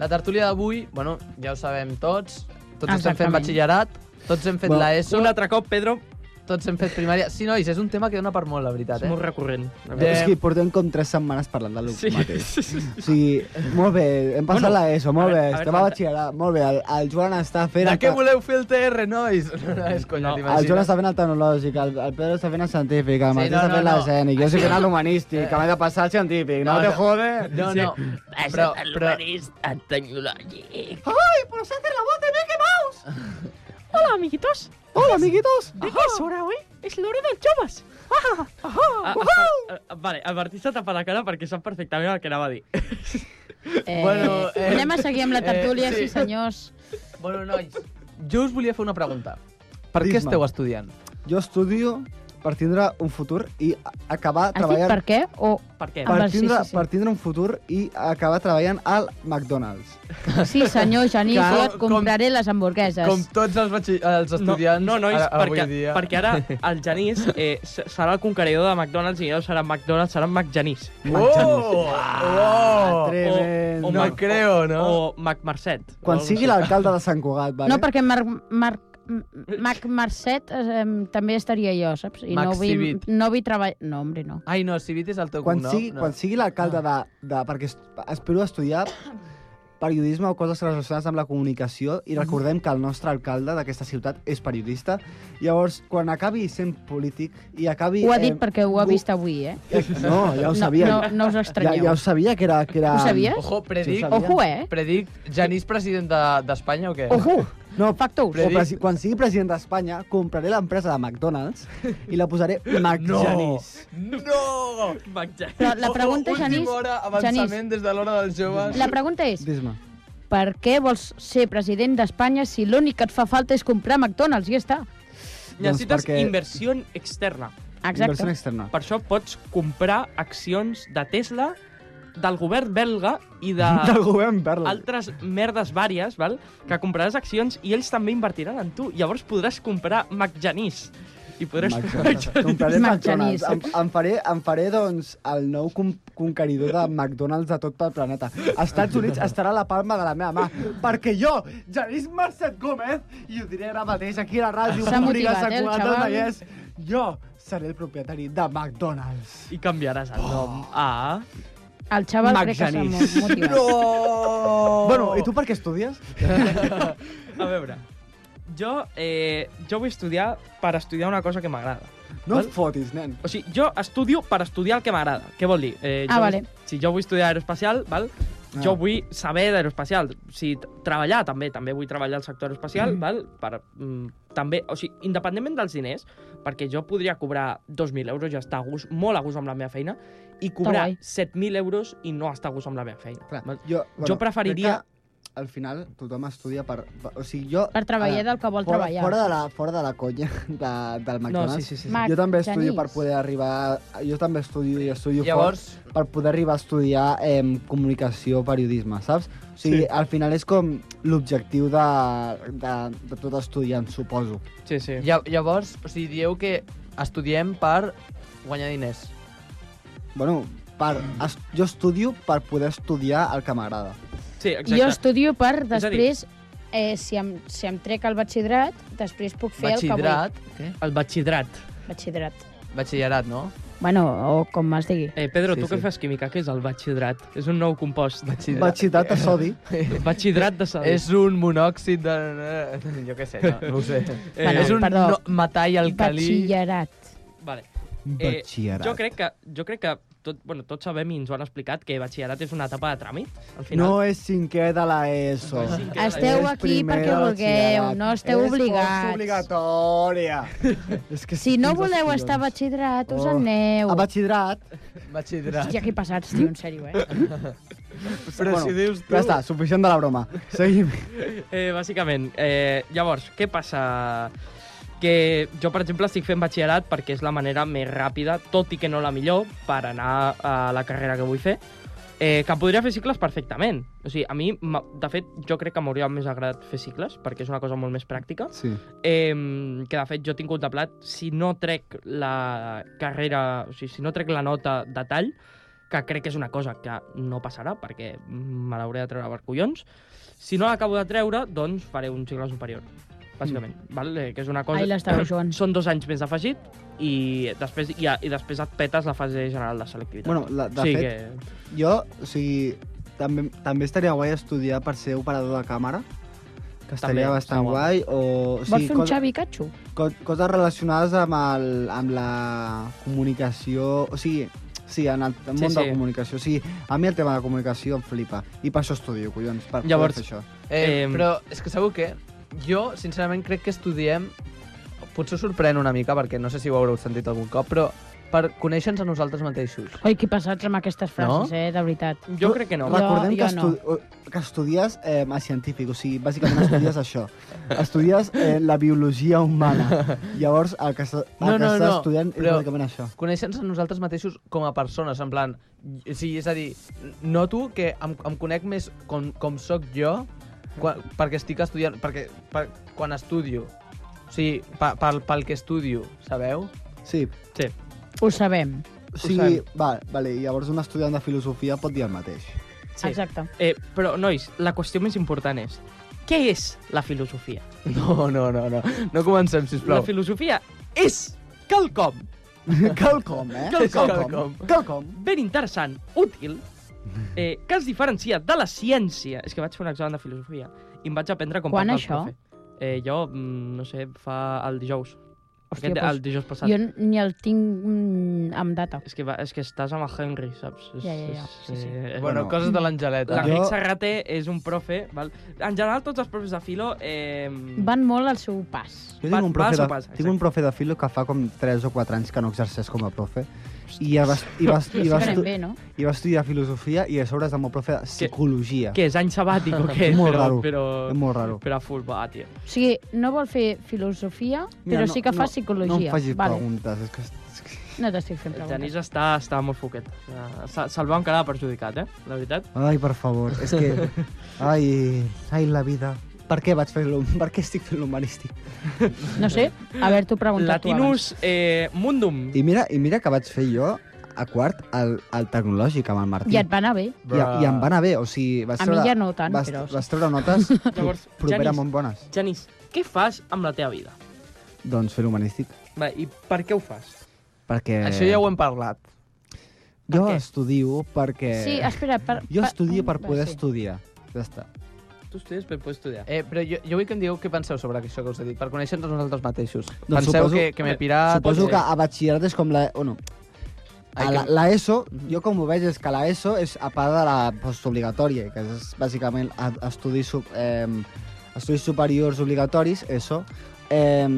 S7: la tertúlia d'avui, bueno, ja ho sabem tots. Tots estem fent
S4: Exactament.
S7: batxillerat, tots hem fet
S6: Bueno,
S7: l'ESO,
S5: Un altre cop, Pedro,
S7: tots hem fet primària. Sí, nois, és un tema que dona per molt, la veritat,
S5: és
S7: eh?
S5: molt recurrent. la
S7: Eh,
S6: És
S5: veritat.
S6: que portem com tres setmanes parlant del
S5: Sí.
S6: sí. mateix. O sigui, molt bé, hem passat
S5: Bueno,
S6: bueno, l'ESO,
S5: a
S6: molt
S5: veure,
S6: bé,
S5: a veure,
S6: estem a
S5: Fanta-
S6: batxillerat, molt bé, el, el Joan està fent...
S7: De
S6: el te-
S7: què voleu fer el TR, nois? No, no, és conya,
S5: No.
S6: El Joan
S7: t'imagines.
S6: està fent el tecnològic, el, el Pedro està fent el científic, el
S7: Sí,
S6: Martí
S7: no,
S6: està
S7: no,
S6: fent
S7: no.
S6: l'escènic, jo estic fent el humanístic, que m'he de passar el científic, no,
S7: No,
S6: te
S7: no.
S6: jode!
S7: No, no, però, però...
S8: Hola, amiguitos.
S6: Hola, amiguitos!
S8: ¿De qué es hora hoy? Es la hora del Chavas. ¡Ajá!
S5: Ah,
S8: ¡Ajá!
S5: espera, eh, vale, el Martí s'ha tapat la cara perquè sap perfectament el que anava a dir.
S4: Eh,
S7: Bueno, eh,
S4: anem a seguir amb la tertúlia,
S7: eh, sí.
S4: sí. senyors.
S7: Bueno, nois, jo us volia fer una pregunta. Per què
S6: Dis-me.
S7: esteu estudiant?
S6: Jo estudio per tindre un futur i a- acabar
S4: Has dit per
S6: treballant...
S4: què? O...
S5: Per què?
S4: Ah. amb
S6: Per
S4: el sí,
S6: tindre,
S4: sí, sí.
S6: per tindre un futur i acabar treballant al McDonald's.
S4: Sí, senyor Genís,
S7: Clar,
S4: jo et
S7: com-
S4: compraré les hamburgueses.
S7: Com tots els, batxi... els estudiants
S5: no, no, nois,
S7: ara, avui
S5: perquè,
S7: dia.
S5: perquè ara el Janís eh, s- serà el conqueridor de McDonald's i no serà McDonald's, serà McJanís.
S7: Oh! Oh!
S5: o
S6: Tremendo.
S7: No
S5: Mac-
S7: creo, no?
S5: O McMercet. o
S6: Quan
S5: algo
S6: sigui
S5: així.
S6: l'alcalde de Sant Cugat, vale?
S4: No, perquè Marc, Marc, M- Marc Mercet eh, em, també estaria jo, saps? I
S7: Max
S4: no vull,
S7: Civit.
S4: no vull treballar... No, hombre, no.
S7: Ai, no, Civit és el teu
S6: quan,
S7: cognom.
S6: sigui,
S7: no.
S6: quan sigui l'alcalde de, de... Perquè es- espero estudiar periodisme o coses relacionades amb la comunicació i recordem que el nostre alcalde d'aquesta ciutat és periodista. Llavors, quan acabi sent polític i acabi...
S4: Ho ha dit
S6: eh,
S4: perquè ho ha
S6: gu-
S4: vist avui, eh?
S6: Eh, No, ja ho
S4: No,
S6: sabia.
S4: no, no us
S6: ja,
S4: estranyeu.
S6: ja ho sabia que era... Que era...
S4: Ho sabies?
S7: Ojo, predic...
S6: Sí, ho sabia.
S4: Ojo, eh?
S7: Predic Janís president de- d'Espanya o què?
S4: Ojo!
S6: No,
S4: Factos.
S6: o presi quan sigui president d'Espanya, compraré l'empresa de McDonald's i la posaré McJanís.
S7: No!
S5: McJanís.
S4: Però la pregunta,
S7: Ojo,
S4: Janís...
S7: Última hora, avançament
S4: Janís,
S7: des de l'hora dels joves.
S4: la pregunta és,
S6: Dis-me.
S4: per què vols ser president d'Espanya si l'únic que et fa falta és comprar McDonald's i ja està?
S5: Necessites
S6: Doncs perquè-
S5: inversió externa.
S6: Inversió
S4: Exacte.
S6: externa.
S5: Per això pots comprar accions de Tesla, del govern belga i de
S6: Del govern Berlín.
S5: altres merdes vàries, val? que compraràs accions i ells també invertiran en tu. Llavors podràs comprar McJanís. I podràs...
S6: McDonald's. Compraré
S4: McDonald's.
S6: McDonald's. Em, em, faré, em faré, doncs, el nou con- conqueridor de McDonald's de tot el planeta. Estats Units estarà a la palma de la meva mà, perquè jo, Janís Mercet Gómez, i ho diré ara mateix aquí a la ràdio,
S4: S'ha
S6: pública,
S4: motivat,
S6: Sant
S4: eh, el
S6: Cugat del
S4: xaval?
S6: Vallès, jo seré el propietari de McDonald's.
S5: I canviaràs el nom
S6: Oh.
S5: a...
S4: El xaval
S6: Max
S4: crec que s'ha
S6: Genís.
S4: mo- motivat.
S7: No!
S6: Bueno, i tu per què estudies?
S5: A veure, jo, eh, jo vull estudiar per estudiar una cosa que m'agrada.
S6: No
S5: Val?
S6: et fotis, nen.
S5: O sigui, jo estudio per estudiar el que m'agrada. Què vol dir? Eh,
S4: Ah,
S5: jo,
S4: vale.
S5: Si jo vull estudiar aeroespacial, val?
S6: Ah.
S5: jo vull saber d'aeroespacial. O sigui, t- treballar també, també vull treballar al sector aeroespacial, val? Per, mm, també, o sigui, independentment dels diners, perquè jo podria cobrar 2.000 euros i estar a gust, molt a gust amb la meva feina, i cobrar
S4: guai.
S5: 7.000 euros i no estar a gust amb la meva feina.
S6: Clar,
S5: val?
S6: jo,
S5: Jo preferiria-
S6: crec que Al final, tothom estudia per... O sigui, jo...
S4: Per treballar del que vol
S6: fora,
S4: treballar.
S6: Fora de la, fora de la conya de, del
S5: No,
S6: McDonald's,
S5: sí, sí, sí. sí.
S4: Mac,
S6: jo també estudio
S4: Genís.
S6: per poder arribar... Jo també estudio i estudio Llavors...
S7: Llavors,
S6: fort per poder arribar a estudiar eh, comunicació, periodisme, saps? O sigui, sí. al final és com l'objectiu de, de, de tot estudiant, suposo.
S5: sí, sí.
S7: lla- llavors, o sigui, dieu que estudiem per guanyar diners.
S6: Bueno, per, es, jo estudio per poder estudiar el que m'agrada.
S5: sí exacte.
S4: Jo estudio per
S5: És a dir-
S4: després, eh, si, em, si em trec el batxillerat, després puc fer el que vull.
S7: Batxillerat. Què?
S5: El batxillerat.
S4: Batxillerat.
S7: Batxillerat, no?
S4: Bueno, o com es digui.
S5: Eh, Pedro,
S7: Sí,
S5: sí, tu que
S7: sí.
S5: fas química, què és el batxidrat? És un nou compost.
S7: Batxillerat.
S6: Batxitat a
S5: eh,
S6: sodi.
S5: Batxidrat de sal.
S7: És un monòxid de... Jo què sé, no, no ho sé.
S5: Eh,
S4: Bueno,
S7: és un
S4: perdó.
S7: no, metall alcalí.
S4: Batxillerat.
S5: Vale. Eh,
S6: Batxillerat.
S5: Jo crec que, jo crec que tot, bueno, tots sabem i ens ho han explicat que batxillerat és una etapa de tràmit, al final.
S6: No és cinquè de la ESO.
S5: No és cinquè. Queda
S4: Esteu
S6: És
S4: aquí
S6: primer
S4: perquè
S6: de
S4: vulgueu,
S6: batxillerat.
S4: no esteu
S6: és És
S4: obligats.
S6: obligatòria. és que
S4: Si no
S6: fins als
S4: voleu
S6: collons.
S4: estar a batxillerat, us
S6: Oh.
S4: en aneu.
S6: A batxillerat.
S7: Batxillerat.
S4: Hòstia, que passats, tio, en sèrio, eh?
S7: Però si dius tu...
S6: Ja està, suficient de la broma. Seguim.
S5: Eh, bàsicament, eh, llavors, què passa? Que jo, per exemple, estic fent batxillerat perquè és la manera més ràpida, tot i que no la millor, per anar a la carrera que vull fer, eh, que podria fer cicles perfectament. O sigui, a mi, m'ha- de fet, jo crec que m'hauria més agradat fer cicles, perquè és una cosa molt més pràctica,
S6: Sí.
S5: eh, que de fet jo tinc contemplat, si no trec la carrera, o sigui, si no trec la nota de tall, que crec que és una cosa que no passarà, perquè me l'hauré de treure per collons, si no l'acabo de treure, doncs faré un cicle superior, bàsicament, mm. val? Eh, que és una cosa...
S4: Ai, l'estava jugant.
S5: Són dos anys més afegit i després, i, i després et petes la fase general de selectivitat.
S6: Bueno, la, de
S5: o sigui
S6: fet,
S5: que...
S6: Jo, o sigui, també, també estaria guai estudiar per ser operador de càmera, que estaria
S5: També,
S6: bastant
S5: està guai.
S6: guai, o, o
S4: Vols
S6: sigui,
S4: fer un Xavi Catxo?
S6: co coses relacionades amb, el, amb la comunicació, o sigui, sí, en el món
S5: Sí,
S6: de
S5: sí.
S6: comunicació. O sigui, a mi el tema de la comunicació em flipa, i per això estudio, collons, per
S5: Llavors,
S6: poder fer això.
S7: Eh,
S5: Em.
S7: però és que sabeu què? Jo, sincerament, crec que estudiem... Potser us sorprèn una mica, perquè no sé si ho haureu sentit algun cop, però per conèixer-nos a nosaltres mateixos.
S4: Oi, que passats amb aquestes frases,
S7: No?
S4: eh? De veritat.
S5: Jo crec que no.
S4: Jo-
S6: Recordem que,
S4: jo no.
S6: estu que estudies eh, a científic, o sigui, bàsicament estudies això. Estudies eh, la biologia humana. Llavors, el que, s'ha- el
S7: No,
S6: que
S7: no,
S6: estàs
S7: no,
S6: estudiant és
S7: però-
S6: bàsicament això.
S7: conèixer-nos a nosaltres mateixos com a persones, en plan... Sí, és a dir, noto que em, em conec més com, com sóc jo quan, perquè estic estudiant... Perquè, per, quan estudio. O sigui, pa, pel, pel que estudio, sabeu?
S6: Sí,
S4: Ho sabem.
S6: O sigui, va, vale, llavors un estudiant de filosofia pot dir el mateix.
S5: Sí.
S4: Exacte.
S5: Eh, però, nois, la qüestió més important és què és la filosofia?
S7: No, no, no, no. No comencem,
S5: Plou.
S7: sisplau.
S5: La filosofia és quelcom
S6: Quelcom, eh?
S5: Quelcom.
S6: Quelcom. Quelcom.
S5: ben interessant, útil, eh, que es diferencia de la ciència. És que vaig fer un examen de filosofia i em vaig aprendre com
S4: Quan
S5: parla el
S4: això?
S5: profe. Eh, jo, mm, no sé, fa el dijous.
S4: Hòstia,
S5: Aquest,
S4: doncs
S5: el dijous passat.
S4: Jo ni el tinc mm, amb data.
S5: És que, va, és que estàs amb el Henry, saps? És,
S4: Ja, ja, ja.
S5: és-
S4: Sí, sí.
S5: eh,
S6: Bueno.
S7: Bueno, coses de l'Angeleta.
S5: L'Enric
S6: Jo-
S5: Serrater és un profe, val? En general, tots els profes de filo... Eh,
S4: Van molt al seu pas.
S6: Jo
S5: Pas-
S6: tinc un, profe
S5: pas o
S6: de,
S5: pas,
S6: tinc un profe de filo que fa com 3 o 4 anys que no exerceix com a profe i ja va, i va, i
S4: I
S6: va,
S4: això anem
S6: estu,
S4: bé, no?
S6: i va estudiar filosofia i a sobre és el meu profe de psicologia.
S5: Què és, any sabàtic o què?
S6: Molt
S5: però,
S6: raro.
S5: Però,
S6: És molt raro.
S5: però a full, va, tio.
S4: O sigui, no vol fer filosofia, Mira, però sí que fa psicologia.
S6: No em facis
S4: vale.
S6: preguntes, és que... És que...
S4: No t'estic fent
S5: El
S4: preguntes.
S5: Genís està, està molt foquet. Eh, se- Se'l va quedar perjudicat, eh? La veritat.
S6: Ai, per favor, és que... Ai, ai, la vida. Per què vaig fer l'hum- Per què estic fent l'humanístic?
S4: No sé, haver-t'ho preguntat tu abans.
S5: Latinus eh, Mundum.
S6: I mira, I mira que vaig fer jo a quart al, al tecnològic amb el Martí.
S4: I et va anar bé.
S6: I, I em va anar bé, o sigui... Vas
S4: A mi ja no tant,
S6: vas,
S4: però sí.
S6: Vas treure notes
S5: Llavors,
S6: properament
S5: Janis,
S6: bones.
S5: Genís, què fas amb la teva vida?
S6: Doncs fer l'humanístic,
S5: Va, I per què ho fas?
S6: perquè...
S7: Això ja ho hem parlat.
S6: Jo
S5: per què?
S6: estudio perquè...
S4: Sí, espera. Per,
S6: Eh, Jo estudio per
S4: Va,
S6: poder
S4: sí.
S6: estudiar. Ja està.
S5: Tu estudies per poder estudiar.
S7: Eh, però jo, jo vull que em digueu què penseu sobre això que us he dit, per conèixer-nos nosaltres mateixos.
S6: Doncs
S7: penseu
S6: suposo-
S7: que, que m'he pirat... eh,
S6: Suposo
S5: ser.
S6: que a batxillerat és com la... O no, a
S7: Ai,
S6: la,
S7: que-
S6: la ESO, jo com ho veig és que la ESO és a part de la postobligatòria, que és bàsicament a- estudis, sub, eh, estudis superiors obligatoris, ESO, eh,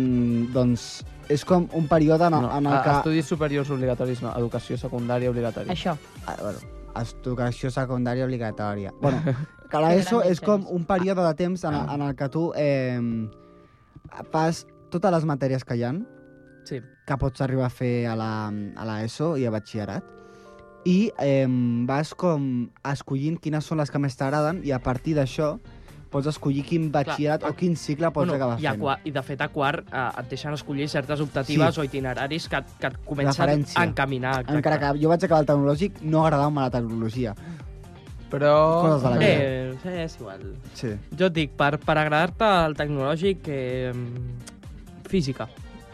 S6: doncs és com un període en,
S7: No,
S6: no, en
S7: a-
S6: el que...
S7: Estudis superiors obligatoris, no. Educació secundària obligatòria.
S4: Això.
S6: Ah, bueno, educació secundària obligatòria. Bueno, que
S4: gran
S6: l'ESO és
S4: mitjans.
S6: com un període de temps en,
S5: Ah.
S6: en el que tu eh, fas totes les matèries que hi ha,
S5: Sí.
S6: que pots arribar a fer a la, a la ESO i a batxillerat, i eh, vas com escollint quines són les que més t'agraden i a partir d'això pots escollir quin batxillerat
S5: a-
S6: o quin cicle pots acabar
S5: i, a
S6: fent.
S5: qua, I de fet a quart eh, et deixen escollir certes optatives sí. o itineraris que, et- que et comencen
S6: Referència.
S5: a encaminar. exacte.
S6: Encara que jo vaig acabar el tecnològic, no agradava-me la tecnologia.
S7: Però...
S6: Coses de la vida.
S5: Eh, sí, és igual.
S6: Sí.
S5: Jo et dic, per, per agradar-te al tecnològic, eh, física.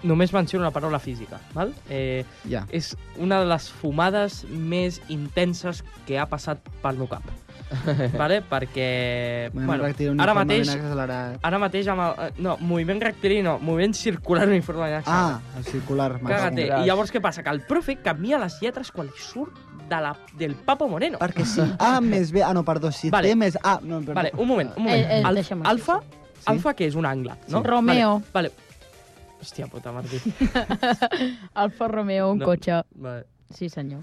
S5: només menciono una paraula física, val? Eh,
S6: Ja.
S5: és una de les fumades més intenses que ha passat pel meu cap. vale? Perquè...
S6: Bueno,
S5: ara mateix, ara mateix amb el, eh, no, moviment rectilini no, moviment circular uniforme
S6: Ah, el circular.
S5: Cagate.
S7: m'entenc.
S5: eh? I llavors què passa? Que el profe canvia les lletres quan li surt de la, del Papo Moreno.
S6: Perquè si A més B... Ah, no, perdó, si
S5: Vale.
S6: T més A... No, perdó.
S5: Vale, un moment, un
S4: Eh,
S5: moment.
S4: eh,
S5: Al-
S4: deixa'm aquí.
S5: alfa, alfa que és un angle, no?
S4: Sí. Romeo.
S5: Vale, vale. Hòstia puta, Martí.
S4: Alfa Romeo, un
S5: No.
S4: cotxe.
S5: Vale.
S4: Sí, senyor.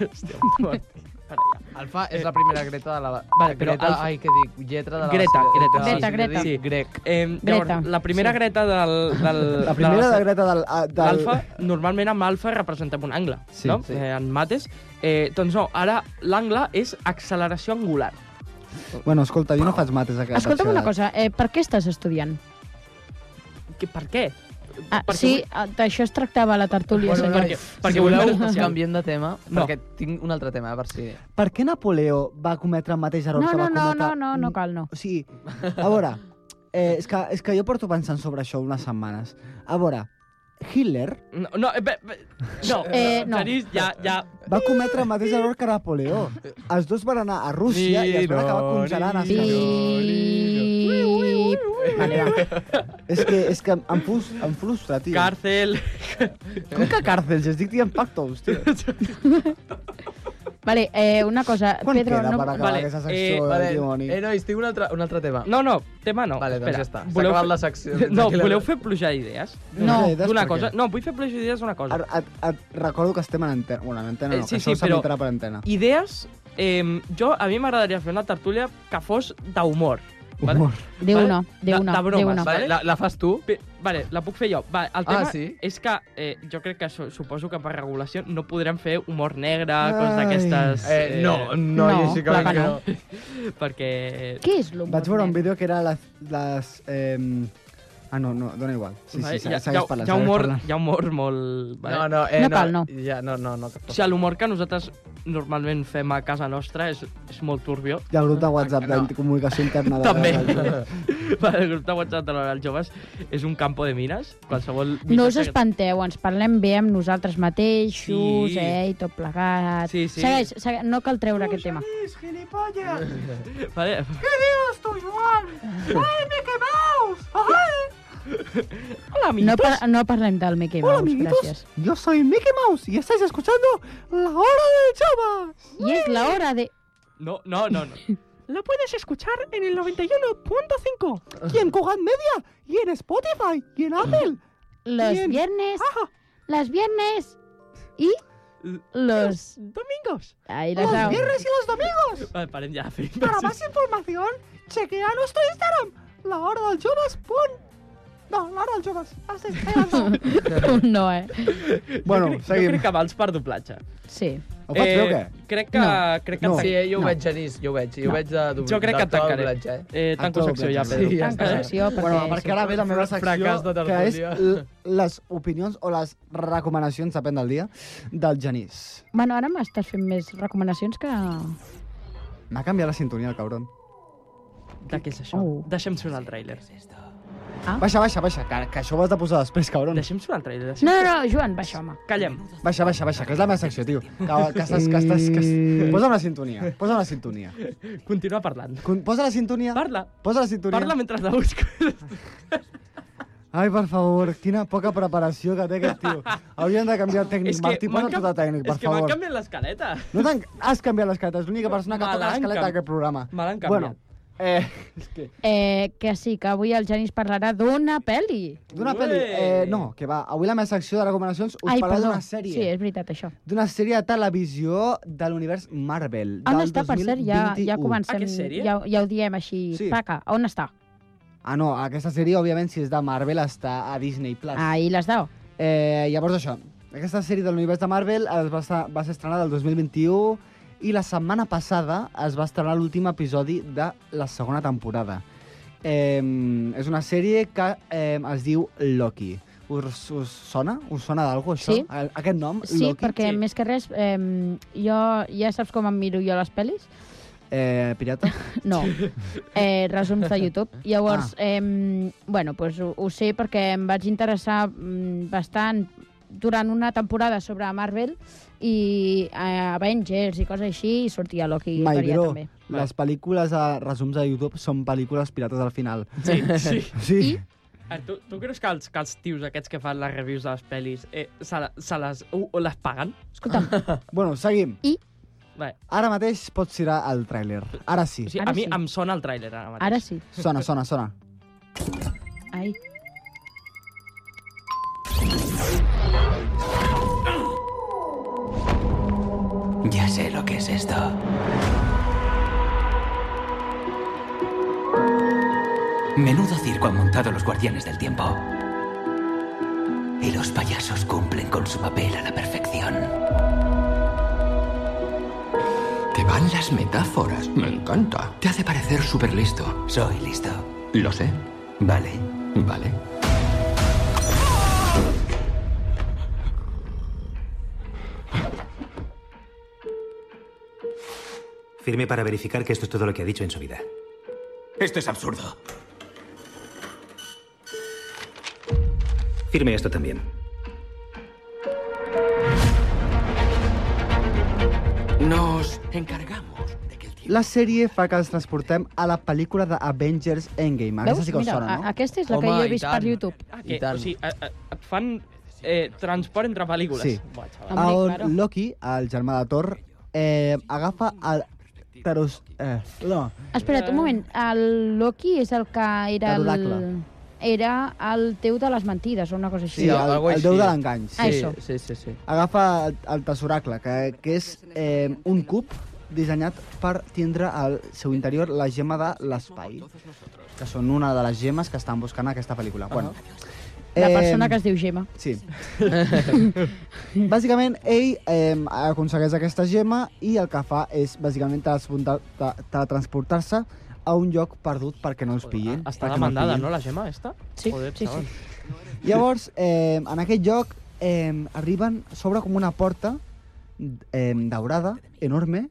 S5: Hòstia puta, Martí. Vale, ja.
S7: Alfa és la primera greta de la...
S5: Vale, però
S7: greta,
S5: alfa-
S7: Ai, què dic? Lletra de la...
S5: Greta, greta,
S7: de-
S4: sí. Greta,
S7: de-
S4: greta.
S7: Sí, grec.
S5: Eh, llavors,
S4: Greta.
S5: la primera
S4: Sí.
S5: greta del... del
S6: La primera
S5: de
S6: de Greta del... ah, del...
S5: L'alfa, normalment amb alfa representem un angle,
S6: Sí,
S5: no?
S6: sí.
S5: Eh, en mates. Eh, doncs no, ara l'angle és acceleració angular.
S6: Bueno, escolta, jo no faig mates a casa.
S4: Escolta'm una cosa, eh, per què estàs estudiant?
S5: Que, per què?
S4: Ah,
S5: Perquè
S4: sí,
S5: vull-
S4: ah, d'això es tractava la tertúlia.
S5: Bueno,
S4: senyor.
S5: perquè, perquè
S7: si
S5: voleu...
S7: voleu, canviem de tema,
S5: No.
S7: perquè tinc un altre tema, eh, per si...
S6: Per què Napoleó va cometre el mateix error
S4: No,
S6: que va
S4: no, no,
S6: cometre...
S4: no, no, no cal, no.
S6: O sigui, a veure, eh, és, que, és que jo porto pensant sobre això unes setmanes. A veure, Hitler
S5: No, no, eh, be, be, no,
S4: Eh, no.
S5: Genís, ja, ja...
S6: va cometre el mateix error que Napoleó. Els dos van anar a Rússia i es van acabar congelant a
S4: Pi-
S6: És que, és que em, frus, em frustra, tio.
S5: Càrcel...
S6: Com que càrcels? Estic dient pactos, tio.
S4: Vale, eh, una cosa,
S6: Quan
S4: Pedro,
S6: queda
S4: no...
S6: per acabar
S5: vale,
S6: aquesta
S5: eh,
S6: secció, eh,
S7: Vale,
S6: dimoni?
S7: eh, nois, tinc un altre, un altre tema.
S5: No, no, tema no.
S7: Vale, doncs
S5: Espera,
S7: ja està. S'ha
S5: Voleu
S7: acabat
S5: fer-
S7: la secció.
S5: No, voleu fer plujar idees?
S6: No. Idees
S5: D'una
S6: per què?
S5: cosa... No, vull fer plujar idees d'una cosa.
S6: Ara, et, et recordo que estem en antena. Bueno, en antena
S5: Eh,
S6: no,
S5: sí,
S6: que això
S5: sí, però-
S6: s'emetrà per antena.
S5: Idees... Eh, jo, a mi m'agradaria fer una tertúlia que fos d'humor. Vale?
S6: Humor.
S4: Diu
S5: Vale,
S4: no, diu
S5: de-
S4: no,
S5: de
S4: diu
S5: bromes,
S4: no.
S7: Vale, la, la fas tu?
S5: Bé, vale, la puc fer jo. Va, el tema
S7: Ah, sí?
S5: és que eh, jo crec que su suposo que per regulació no podrem fer humor negre, coses
S6: Ai.
S5: d'aquestes...
S7: Eh, no, no,
S4: No,
S7: no, sí que
S4: clar
S7: veig
S4: que
S7: que
S4: no.
S7: no.
S5: Perquè...
S4: Què és l'humor?
S6: Vaig veure un
S4: negre?
S6: vídeo que era les... les eh, ah, no, no, dona igual. Sí, sí, sí,
S5: hi, ha, hi,
S6: segueix
S5: ha,
S6: parlant.
S5: hi, ha
S6: segueix
S5: humor,
S6: parlant.
S5: hi ha humor molt... Vale?
S7: No, no, eh,
S4: No cal, no.
S7: Ja, no, no, no.
S5: O sigui, l'humor que nosaltres normalment fem a casa nostra és, és molt turbio.
S6: Hi ha el grup de WhatsApp
S7: No.
S6: de comunicació interna. De
S5: Ah, També. Per el grup de WhatsApp de l'hora dels joves és un campo de mines. Qualsevol...
S4: No us
S5: missatge que-
S4: espanteu, ens parlem bé amb nosaltres mateixos,
S5: Sí.
S4: eh, i tot plegat.
S5: Sí, sí.
S4: Segueix, segueix, no cal treure aquest tema.
S8: ¡Es gilipollas!
S5: Vale.
S8: ¡Dios, tu igual! ¡Ay, me quemaos! ¡Ay!
S5: Hola,
S4: No, par no parlem del Mickey Mouse, gràcies.
S6: Yo soy Mickey Mouse y estáis escuchando La Hora del Chava.
S4: I és l'hora de...
S5: No, no, no. no.
S8: Lo puedes escuchar en el 91.5.
S6: Y en Kogan Media y en Spotify y en Apple.
S4: Los
S6: Bien.
S4: viernes, las viernes i los...
S8: Domingos.
S4: Ay,
S6: Los
S4: los
S6: viernes y los domingos.
S5: Vale, parem ja.
S8: Para más información, chequea nuestro Instagram. La hora del Jovas pon... No, la hora del Jovas. Has de esperar.
S4: No, eh?
S6: Bueno,
S5: jo crec,
S6: seguim.
S5: Jo crec que vals per doblatge. Eh,
S4: Sí.
S6: Ho faig bé o què?
S5: Crec que...
S4: No.
S5: Crec que
S6: No.
S5: no.
S7: Sí, eh, jo ho
S4: No.
S7: veig, Genís, jo ho veig. Jo ho veig de doblatge.
S5: Jo crec que et tancaré.
S7: Doblatge, eh?
S5: Eh, tanco
S6: Actor
S5: secció ja,
S6: doblatge.
S5: Pedro.
S7: Sí, ja
S4: Tanca
S7: està.
S4: secció, perquè...
S6: Bueno, perquè ara ve la meva secció,
S7: Fracàs de
S6: que
S7: tertúlia.
S6: és l- les opinions o les recomanacions, depèn del dia, del Genís.
S4: Bueno, ara m'estàs fent més recomanacions que...
S6: M'ha canviat la sintonia, el cabron.
S5: De què és això?
S4: Oh.
S5: Deixem sonar el tràiler.
S6: Baixa, baixa, baixa, que, que això ho has de posar després, cabron.
S5: Deixem sonar el tràiler. Deixem...
S4: No, no, no, Joan, baixa, home.
S5: Callem.
S6: Baixa, baixa, baixa, que és la meva secció, tio. Que, que estàs, que estàs, que... es- Posa una sintonia, posa una sintonia.
S5: Continua parlant.
S6: Con- Posa la sintonia,
S5: Parla.
S6: posa la sintonia.
S5: Parla mentre la busques.
S6: Ai, per favor, quina poca preparació que té aquest tio. Hauríem de canviar el tècnic. Martí,
S5: m'han
S6: posa tu
S5: cam-
S6: de tècnic, per
S5: És que m'han
S6: favor.
S5: canviat l'escaleta.
S6: No t'han... Has canviat les cartes, l'única persona que
S5: Me
S6: toca
S5: l'han
S6: l'escaleta
S5: cam-
S6: d'aquest programa.
S5: Me l'han
S6: Bueno,
S5: canviat.
S6: eh, és que...
S4: Eh, que sí, que avui el Genís parlarà d'una pel·li.
S6: D'una
S5: Ué.
S6: pel·li... Eh, no, que va. Avui la meva secció de recomanacions us
S4: Ai,
S6: parla
S4: perdó.
S6: d'una
S4: Sí,
S6: sèrie.
S4: és veritat, això.
S6: D'una sèrie de televisió de l'univers Marvel.
S4: On Ah,
S6: del
S4: està, per cert? Ja, ja
S6: 2021.
S4: comencem,
S5: Ah, que és sèrie?
S4: ja, ja ho diem així, sí.
S6: Sí.
S4: paca. On està?
S6: Ah, no, aquesta sèrie, òbviament, si és de Marvel, està a Disney+. Plus.
S4: Ahí les dao.
S6: Eh, llavors, això. Aquesta sèrie de l'univers de Marvel es va, estar, va ser estrenada el 2021 i la setmana passada es va estrenar l'últim episodi de la segona temporada. Eh, és una sèrie que eh, es diu Loki. Us, us sona? Us sona d'algú, això?
S4: Sí.
S6: A- Aquest nom,
S4: Sí,
S6: Loki?
S4: perquè
S5: Sí.
S4: més que res, eh, jo ja saps com em miro jo les pel·lis.
S8: Eh, pirata?
S4: No, eh, resums de YouTube. Llavors, ah. eh, bueno, doncs ho, ho sé perquè em vaig interessar mm, bastant durant una temporada sobre Marvel i eh, Avengers i coses així, i sortia Loki
S8: Mai,
S4: Maibro.
S8: bro,
S4: també.
S8: les pel·lícules de resums de YouTube són pel·lícules pirates al final.
S5: Sí, sí.
S8: Sí.
S4: I?
S5: Eh, Tu, tu creus que els, que els tios aquests que fan les reviews de les pel·lis eh, se, la- se les, o, o les paguen?
S4: Escolta'm,
S8: Bueno, seguim.
S5: Bé,
S8: Ara mateix pots tirar el tràiler. Ara sí.
S5: o sigui,
S4: Ara
S5: a mi
S4: sí.
S5: em sona el tràiler
S6: Ah.
S5: ara mateix.
S4: ara sí.
S8: Sona, sona, sona.
S4: Ai.
S9: Ya sé lo que es esto. Menudo circo han montado los guardianes del tiempo. Y los payasos cumplen con su papel a la perfección.
S10: Te van las metáforas, me encanta. Te hace parecer súper listo.
S9: Soy listo.
S10: Lo sé.
S9: Vale.
S10: Vale.
S11: Firme para verificar que esto es todo lo que ha dicho en su vida.
S10: Esto es absurdo.
S11: Firme esto también.
S10: Nos encargamos de que el tiempo...
S8: La sèrie fa que ens transportem a la pel·lícula de Avengers Endgame. Aquesta sí que us
S4: Mira,
S8: sona,
S4: a-
S8: no?
S4: aquesta és la que
S7: Home,
S4: jo
S7: i
S4: he vist
S7: tant.
S4: per YouTube.
S5: Ah,
S7: I
S5: que,
S7: tant.
S5: o sigui, a, a, et fan eh, transport entre pel·lícules.
S8: Sí.
S5: Buah, xaval.
S4: Hombre,
S8: A
S4: claro.
S8: on Loki, el germà de Thor, eh, agafa el taros... Eh, no,
S4: Espera't, un moment. El Loki és el que era el...
S8: Pterodacle.
S4: Era el teu de les mentides o una cosa així.
S8: sí,
S7: al-
S8: el,
S7: algo
S8: el déu
S7: així.
S8: de l'engany.
S4: Ah,
S8: Sí.
S4: això.
S7: Sí, sí, sí.
S8: Agafa el, el tesoracle, que, que és eh, un cub dissenyat per tindre al seu interior la gema de l'espai, que són una de les gemes que estan buscant en aquesta pel·lícula. Bueno,
S4: La
S8: eh,
S4: persona que es diu Gemma.
S8: Sí. bàsicament, ell eh, aconsegueix aquesta gemma i el que fa és, bàsicament, transportar- tra- teletransportar-se a un lloc perdut perquè no els pillin.
S5: Està
S8: perquè el
S5: demandada,
S8: pillin.
S5: no, la Gemma, esta?
S4: Sí,
S5: Joder,
S4: sí,
S5: xaval.
S8: Llavors, eh, en aquest lloc eh, arriben, s'obre com una porta eh, daurada, enorme,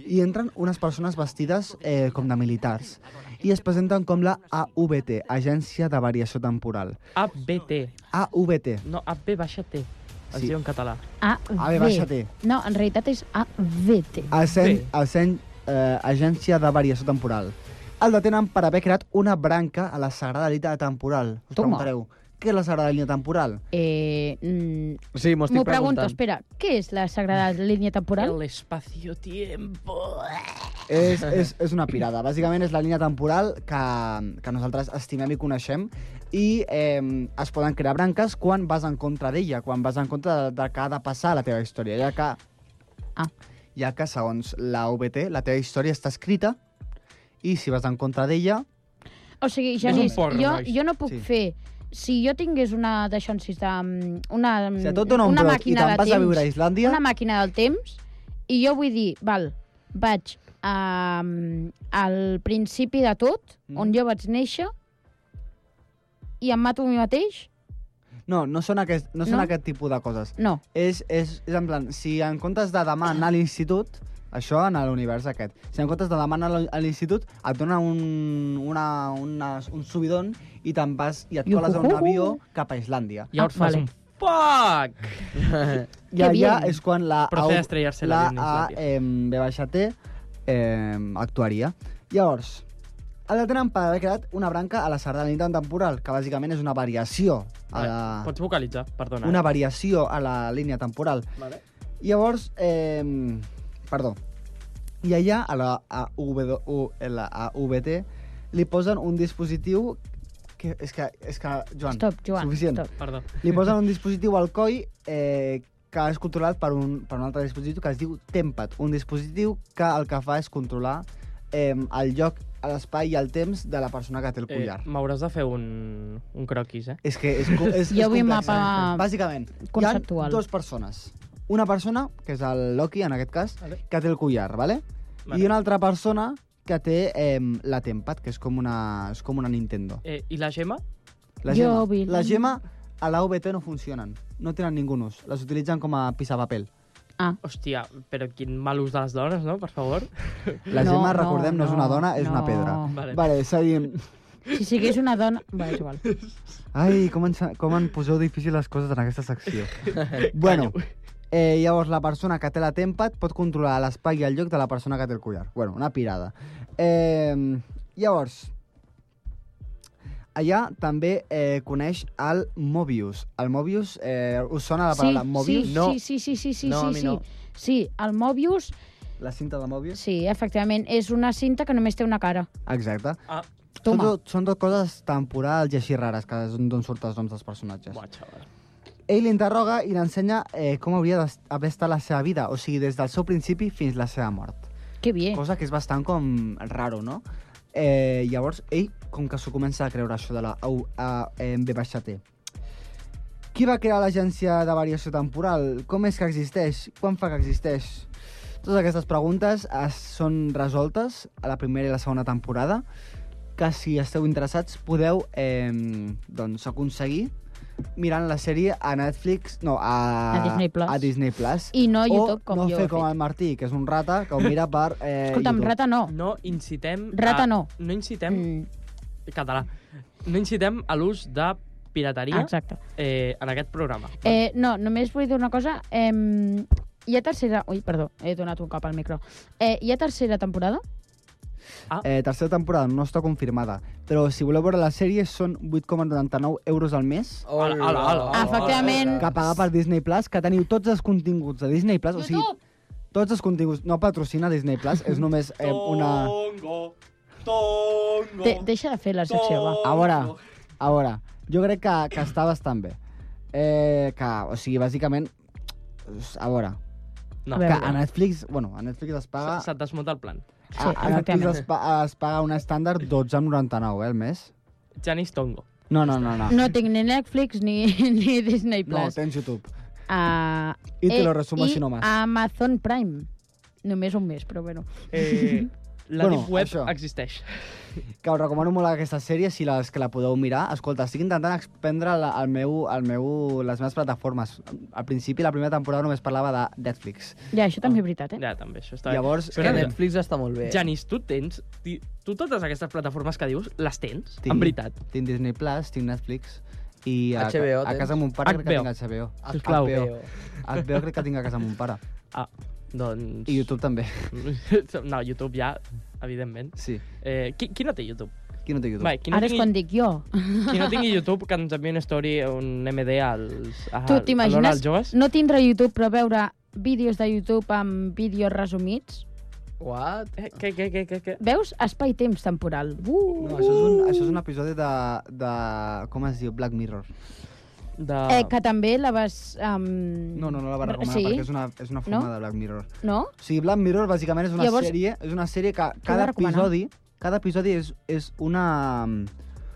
S8: i entren unes persones vestides eh, com de militars i es presenten com la AVT, Agència de Variació Temporal.
S5: ABT.
S8: AVT.
S5: No, AB baixa T. Es
S8: Sí.
S5: diu en català.
S4: A,
S8: A Ah, veure,
S4: B.
S8: baixa-te.
S4: No, en realitat és A, V, T.
S8: Ascent,
S5: Bé.
S8: ascent, eh, Agència de Variació Temporal. El detenen per haver creat una branca a la Sagrada Línia Temporal. Us
S4: Toma.
S8: preguntareu, què és la Sagrada Línia Temporal?
S4: Eh, mm,
S7: Sí, m'ho
S4: M'ho
S7: estic
S4: pregunto,
S7: preguntant.
S4: espera, què és la Sagrada Línia Temporal?
S5: El espacio-tiempo.
S8: És, és, és una pirada. Bàsicament és la línia temporal que, que nosaltres estimem i coneixem i eh, es poden crear branques quan vas en contra d'ella, quan vas en contra de, de que ha de passar la teva història, ja que,
S4: Ah.
S8: ja que segons la UBT la teva història està escrita i si vas en contra d'ella...
S4: O sigui,
S5: un
S4: Genís,
S5: porno,
S4: jo,
S5: nois.
S4: jo no puc
S8: Sí.
S4: fer... Si jo tingués una d'aixònsis de... mm, Una,
S8: Si a tot dona un
S4: una
S8: brot i
S4: màquina
S8: te'n
S4: de
S8: vas
S4: temps,
S8: a viure a Islàndia...
S4: una màquina del temps, i jo vull dir, val, vaig a, al principi de tot,
S8: Mm.
S4: on jo vaig néixer, i em mato a mi mateix?
S8: No, no són, aquest, no són
S4: No?
S8: aquest tipus de coses.
S4: No.
S8: és, és, és en plan, si en comptes de demà anar a l'institut, això en l'univers aquest, si en comptes de demà anar a l'in- a l'institut et dona un, una, una, un subidon i te'n vas i et coles a un avió cap a Islàndia.
S5: I llavors
S4: Ah,
S5: fas
S4: vale.
S5: un... Fuck!
S8: I
S4: Que
S8: allà
S4: bien.
S8: és quan la
S5: Procede a estrellarse el
S8: la
S5: avión en
S8: A
S5: Islàndia.
S8: eh, B baixa T eh, actuaria. Llavors, el detenen per haver creat una branca a la sardanitat temporal, que bàsicament és una variació a la...
S5: Vale, Pots vocalitzar, perdona. eh?
S8: una variació a la línia temporal.
S5: Vale.
S8: Llavors, eh, perdó, i allà a la AVT li posen un dispositiu que, és que, és que, Joan,
S4: Stop, Joan,
S8: suficient.
S4: stop.
S5: Perdó.
S8: Li posen un dispositiu al coll eh, que és controlat per un, per un altre dispositiu que es diu Tempat, un dispositiu que el que fa és controlar eh, el lloc, l'espai i el temps de la persona que té el
S5: Eh,
S8: collar.
S5: M'hauràs de fer un, un croquis, eh?
S8: És que és, co- és,
S4: Jo
S8: és
S4: vull
S8: complex. eh?
S4: mapa
S8: Bàsicament,
S4: conceptual.
S8: hi ha dues persones. Una persona, que és el Loki en aquest cas,
S5: Vale.
S8: que té el collar, vale?
S5: Vale.
S8: I una altra persona que té eh, la Tempad, que és com una, és com una Nintendo.
S5: Eh, I la Gemma?
S8: La
S4: Jo
S8: gemma,
S4: vull la-
S8: la gemma a la UBT no funcionen, no tenen ningun ús, les utilitzen com a pisapapel.
S4: Ah.
S5: Hòstia, però quin mal ús de les dones, no? Per favor.
S8: La
S4: No,
S8: Gemma,
S4: no,
S8: recordem, no, és una
S4: no,
S8: dona, és una
S4: no.
S8: pedra.
S5: Vale.
S8: Vale, és a dir...
S4: Si sigués una dona... Bé, és igual.
S8: Ai, com, ens, com en poseu difícil les coses en aquesta secció. bueno, eh, llavors la persona que té la Tempat pot controlar l'espai i el lloc de la persona que té el collar. Bueno, una pirada. Eh, llavors, allà també eh, coneix el Mobius. El Mobius, eh, us sona la paraula Mobius?
S4: sí,
S7: No.
S4: sí, sí, sí, sí, sí,
S7: No, a
S4: sí,
S7: mi
S4: sí.
S7: no.
S4: Sí, el Mobius,
S8: La cinta de Mobius?
S4: sí, efectivament, és una cinta que només té una cara.
S8: Exacte.
S5: Ah.
S8: Són,
S4: Toma.
S8: tot, són tot coses temporals i així rares, que és d'on surten els noms dels personatges.
S5: Buah, xaval.
S8: Ell l'interroga i l'ensenya eh, com hauria d'es- haver estat la seva vida, o sigui, des del seu principi fins la seva mort.
S4: Que bé.
S8: Cosa que és bastant com raro, no? Eh, llavors, ell com que s'ho comença a creure això de la au, a, em, B baixa T. Qui va crear l'agència de variació temporal? Com és que existeix? Quan fa que existeix? Totes aquestes preguntes es, són resoltes a la primera i la segona temporada, que si esteu interessats podeu eh, doncs, aconseguir mirant la sèrie a Netflix, no, a,
S4: A Disney Plus.
S8: A Disney Plus.
S4: I no a
S8: O
S4: YouTube, com
S8: oh, no
S4: jo
S8: fer
S4: he
S8: com
S4: fet.
S8: el Martí, que és un rata, que ho mira per eh,
S4: Escolta'm,
S8: YouTube.
S4: rata no.
S5: No incitem...
S4: Rata
S5: a-
S4: no.
S5: No incitem... Eh,
S4: Mm,
S5: Català. No incitem a l'ús de pirateria
S4: exacte.
S5: eh, en aquest programa.
S4: Ah. Eh, no, només vull dir una cosa. Eh, hi ha tercera... Ui, perdó, he donat un cap al micro. Eh, hi ha tercera temporada?
S8: Eh, tercera temporada no està confirmada, però si voleu veure la sèrie són 8,99 euros al mes
S5: Hola, hola, hola.
S4: Ah, Efectivament.
S8: que pagar per Disney Plus, que teniu tots els continguts de Disney Plus, o sigui,
S4: YouTube!
S8: tots els continguts, no patrocina Disney Plus, és només eh, una...
S5: Tongo, tongo,
S4: De deixa de fer la secció, va.
S8: A veure, a veure, jo crec que, que està bastant bé. Eh, que, o sigui, bàsicament, a veure,
S5: No,
S4: A
S8: que
S4: veure.
S8: a Netflix, bueno, a Netflix es paga,
S5: se- se't desmunta el plan.
S8: a, a Netflix
S4: efectivament.
S8: es, pa, es paga un estàndard 12,99 eh, al mes.
S5: Janis Tongo.
S8: No, no, no, no.
S4: No tinc ni Netflix ni, ni Disney
S8: No,
S4: Plus.
S8: tens YouTube.
S4: Ah,
S8: I te
S4: eh,
S8: lo resumo
S4: i
S8: així nomás.
S4: Amazon Prime. Només un mes, però bueno.
S5: Eh, la bueno,
S8: Bueno,
S5: Deep Web
S8: això.
S5: això. existeix.
S8: que us recomano molt aquesta sèrie si les que la podeu mirar. Escolta, estic intentant expendre la, el meu, el meu, les meves plataformes. Al principi, la primera temporada només parlava de Netflix.
S4: Ja, això
S8: Ah.
S4: també és veritat, eh?
S5: Ja, també, això està...
S8: Està Llavors,
S7: És que
S5: Espera,
S8: eh,
S7: Netflix està molt bé.
S5: Janis, tu tens... ti- Tu totes aquestes plataformes que dius, les tens?
S8: Tinc.
S5: En veritat.
S8: tinc Disney Plus, tinc Netflix, i a,
S7: HBO
S8: a
S7: tens?
S8: casa mon pare crec que
S5: HBO.
S8: tinc HBO.
S5: Sisplau.
S8: HBO. HBO crec que tinc a casa mon pare.
S5: Ah, doncs...
S8: I YouTube també,
S5: No, YouTube ja, evidentment.
S8: sí.
S5: Eh, qui, qui no té YouTube?
S8: Qui no té YouTube?
S5: Vale, qui, no
S4: Ara és quan
S5: tingui,
S4: dic jo.
S8: Ah,
S5: qui no tingui YouTube, que ens enviï una story, un MD als...
S4: Tu
S5: A, a l'hora
S4: t'imagines
S5: als joves?
S4: no tindre YouTube però veure vídeos de YouTube amb vídeos resumits?
S7: What?
S5: Eh, Què, què, què, què, què?
S4: Veus? Espai-temps temporal. Uh!
S8: No, això és un, això és un episodi de, de... Com es diu? Black Mirror.
S5: De...
S4: Eh, que també la vas... Um...
S8: Ah. No, no, no la va recomanar
S4: sí?
S8: perquè és una, és una forma
S4: No?
S8: de Black Mirror.
S4: No?
S8: O sigui, Black Mirror bàsicament és una
S4: Llavors-
S8: Llavors, sèrie, és una sèrie que
S4: vas
S8: cada
S4: recomanar?
S8: episodi, cada episodi és, és una...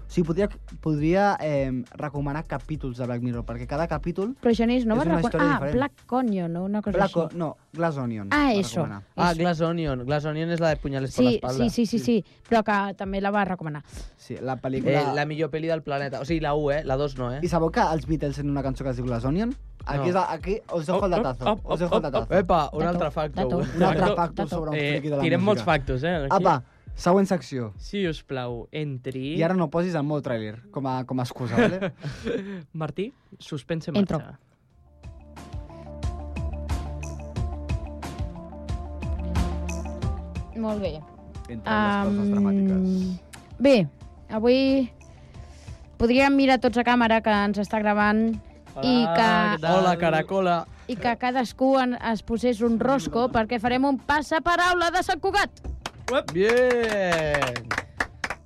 S8: O sigui, podria, podria eh, recomanar capítols de Black Mirror, perquè cada capítol...
S4: Però Genís no va
S8: És una
S4: recomanar...
S8: història
S4: Ah,
S8: diferent.
S4: Black Conyo, no? Una cosa
S8: Black, O-
S4: així.
S8: no, Glass Onion.
S4: Ah,
S8: va
S4: eso.
S8: recomanar.
S7: Ah,
S4: Eso.
S7: Glass Onion. Glass Onion és la de punyales per
S4: Sí,
S7: l'espalda.
S4: sí, sí, sí, sí, però que també la va recomanar.
S8: Sí, la
S7: Eh,
S8: pel·lícula...
S7: la... millor pel·li del planeta. O sigui, la 1, eh? La 2 no, eh?
S8: I sabeu que els Beatles tenen una cançó que es diu Glass Onion? Aquí, és, aquí us dejo el
S5: Op, op,
S8: datazo.
S5: op, op,
S8: Us dejo el
S5: op,
S8: datazo.
S7: Epa, un
S4: Dato,
S7: altre factor.
S4: dato.
S8: Un altre
S5: Dato,
S8: factor
S4: dato.
S8: sobre un
S5: Eh,
S8: friki de la
S5: tirem molts
S8: música.
S5: factos, eh? aquí.
S8: Apa, següent secció.
S5: Si us plau, entri...
S8: I ara no posis el mot trailer com a, com a excusa, vale?
S5: Martí, suspense en
S4: Entro.
S5: marxa.
S4: Molt bé.
S8: Entre les coses dramàtiques.
S4: Em, Bé, avui podríem mirar tots a càmera que ens està gravant i que,
S8: Ah,
S5: Hola, què Ah, tal?
S7: Hola, caracola.
S4: i que cadascú en, es posés un rosco perquè farem un passaparaula de Sant Cugat.
S7: Bien.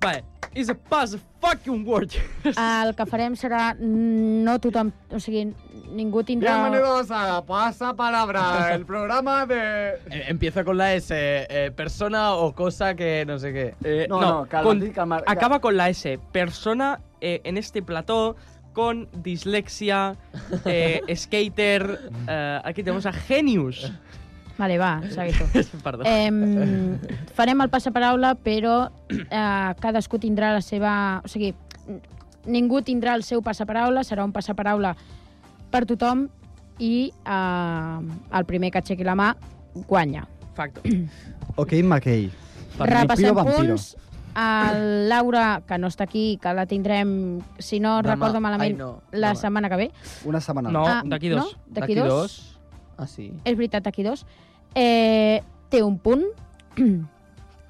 S5: Vale, it's a pass fucking word.
S4: El que farem serà mm, no tothom, o sigui, ningú tindrà...
S8: a Pasa Palabra, el programa de...
S7: Eh, empieza con la S. Eh, persona o cosa que no sé qué.
S5: Eh,
S8: No, no, calma,
S5: con-
S8: sí, calma, cal-
S5: Acaba con la S. Persona eh, en este plató con dislexia, eh, skater... eh, aquí tenemos a Genius.
S4: Vale, va, segueix tu.
S5: Perdó.
S4: Eh, farem el passaparaula, però eh, cadascú tindrà la seva... O sigui, n- ningú tindrà el seu passaparaula, serà un passaparaula per tothom i eh, el primer que aixequi la mà guanya.
S5: Facto.
S8: Ok, McKay.
S4: Repassem
S8: Vampiro, vampiro.
S4: punts. El Laura, que no està aquí, que la tindrem, si no
S7: Demà.
S4: recordo malament,
S7: Ai, no.
S4: la
S7: Demà.
S4: setmana que ve. Ah,
S8: Una setmana.
S5: No, d'aquí dos.
S4: No? D'aquí dos.
S7: Ah, sí.
S4: És veritat, d'aquí dos. Eh, té un punt.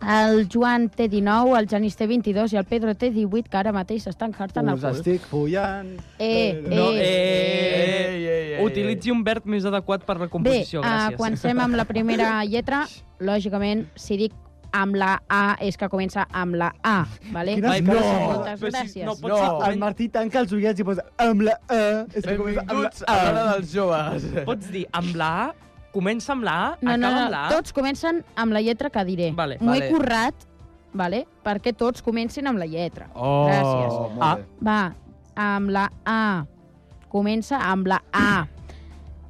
S4: El Joan té 19, el Genís té 22 i el Pedro té 18, que ara mateix s'estan jartant al
S8: Us
S4: cul.
S8: estic follant.
S4: Eh, eh,
S5: No,
S7: Ei,
S5: eh,
S7: ei, ei, ei.
S5: Utilitzi un verb més adequat per la
S4: Bé,
S5: composició,
S4: eh,
S5: gràcies.
S4: quan fem amb la primera lletra, lògicament, si dic amb la A és que comença amb la A, vale?
S8: Quines
S5: Ai,
S8: no!
S4: Moltes
S5: Però si
S4: gràcies.
S5: no pot
S7: No,
S5: ser-
S8: El Martí tanca els ullets i posa amb la E. És que comença amb la E.
S7: Benvinguts a l'hora dels joves.
S5: Pots dir amb la A, comença amb la A,
S4: No, no,
S5: acaba
S4: no,
S5: amb la A.
S4: tots comencen amb la lletra que diré.
S5: Vale,
S4: M'ho he
S7: vale.
S4: currat, vale? perquè tots comencin amb la lletra.
S7: Oh,
S4: Gràcies.
S8: Oh, molt
S7: Ah.
S8: bé.
S4: Va, amb la A. Comença amb la A.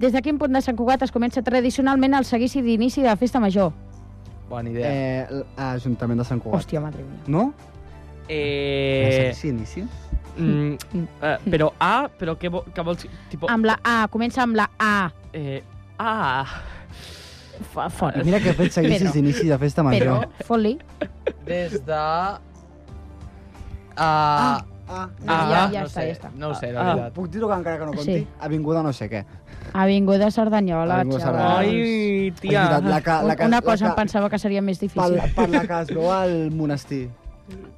S4: Des de quin punt de Sant Cugat es comença tradicionalment el seguici d'inici de la festa major?
S7: Bona idea.
S8: Eh, l- Ajuntament de Sant Cugat.
S4: Hòstia, madre mía.
S8: No?
S5: Eh,
S8: Sí, inici.
S5: mm, eh, però A, però què, vo què vols? Tipo,
S4: Amb la A, comença amb la A.
S5: eh, A,
S4: Fa, fora.
S8: Mira que fet seguicis
S4: Però-
S8: d'inici de festa
S4: Però,
S8: major.
S4: fot-li.
S7: Des de... Ah,
S8: Ah,
S4: No,
S5: Ah,
S4: ja,
S5: ah,
S4: ja
S7: no
S4: està,
S7: sé,
S4: ja està.
S7: No ho sé, la
S5: Ah.
S7: veritat.
S8: Puc dir-ho que encara que no conti?
S4: Sí.
S8: Avinguda no sé què.
S4: Avinguda Cerdanyola,
S8: Avinguda
S4: xaval.
S8: Cerdanyola.
S5: ai,
S8: És
S5: tia.
S8: veritat, la que, la
S4: Un-
S8: que,
S4: Una
S8: la
S4: cosa
S8: que-
S4: em pensava que seria més
S8: Per,
S4: difícil.
S8: per la que es veu al monestir.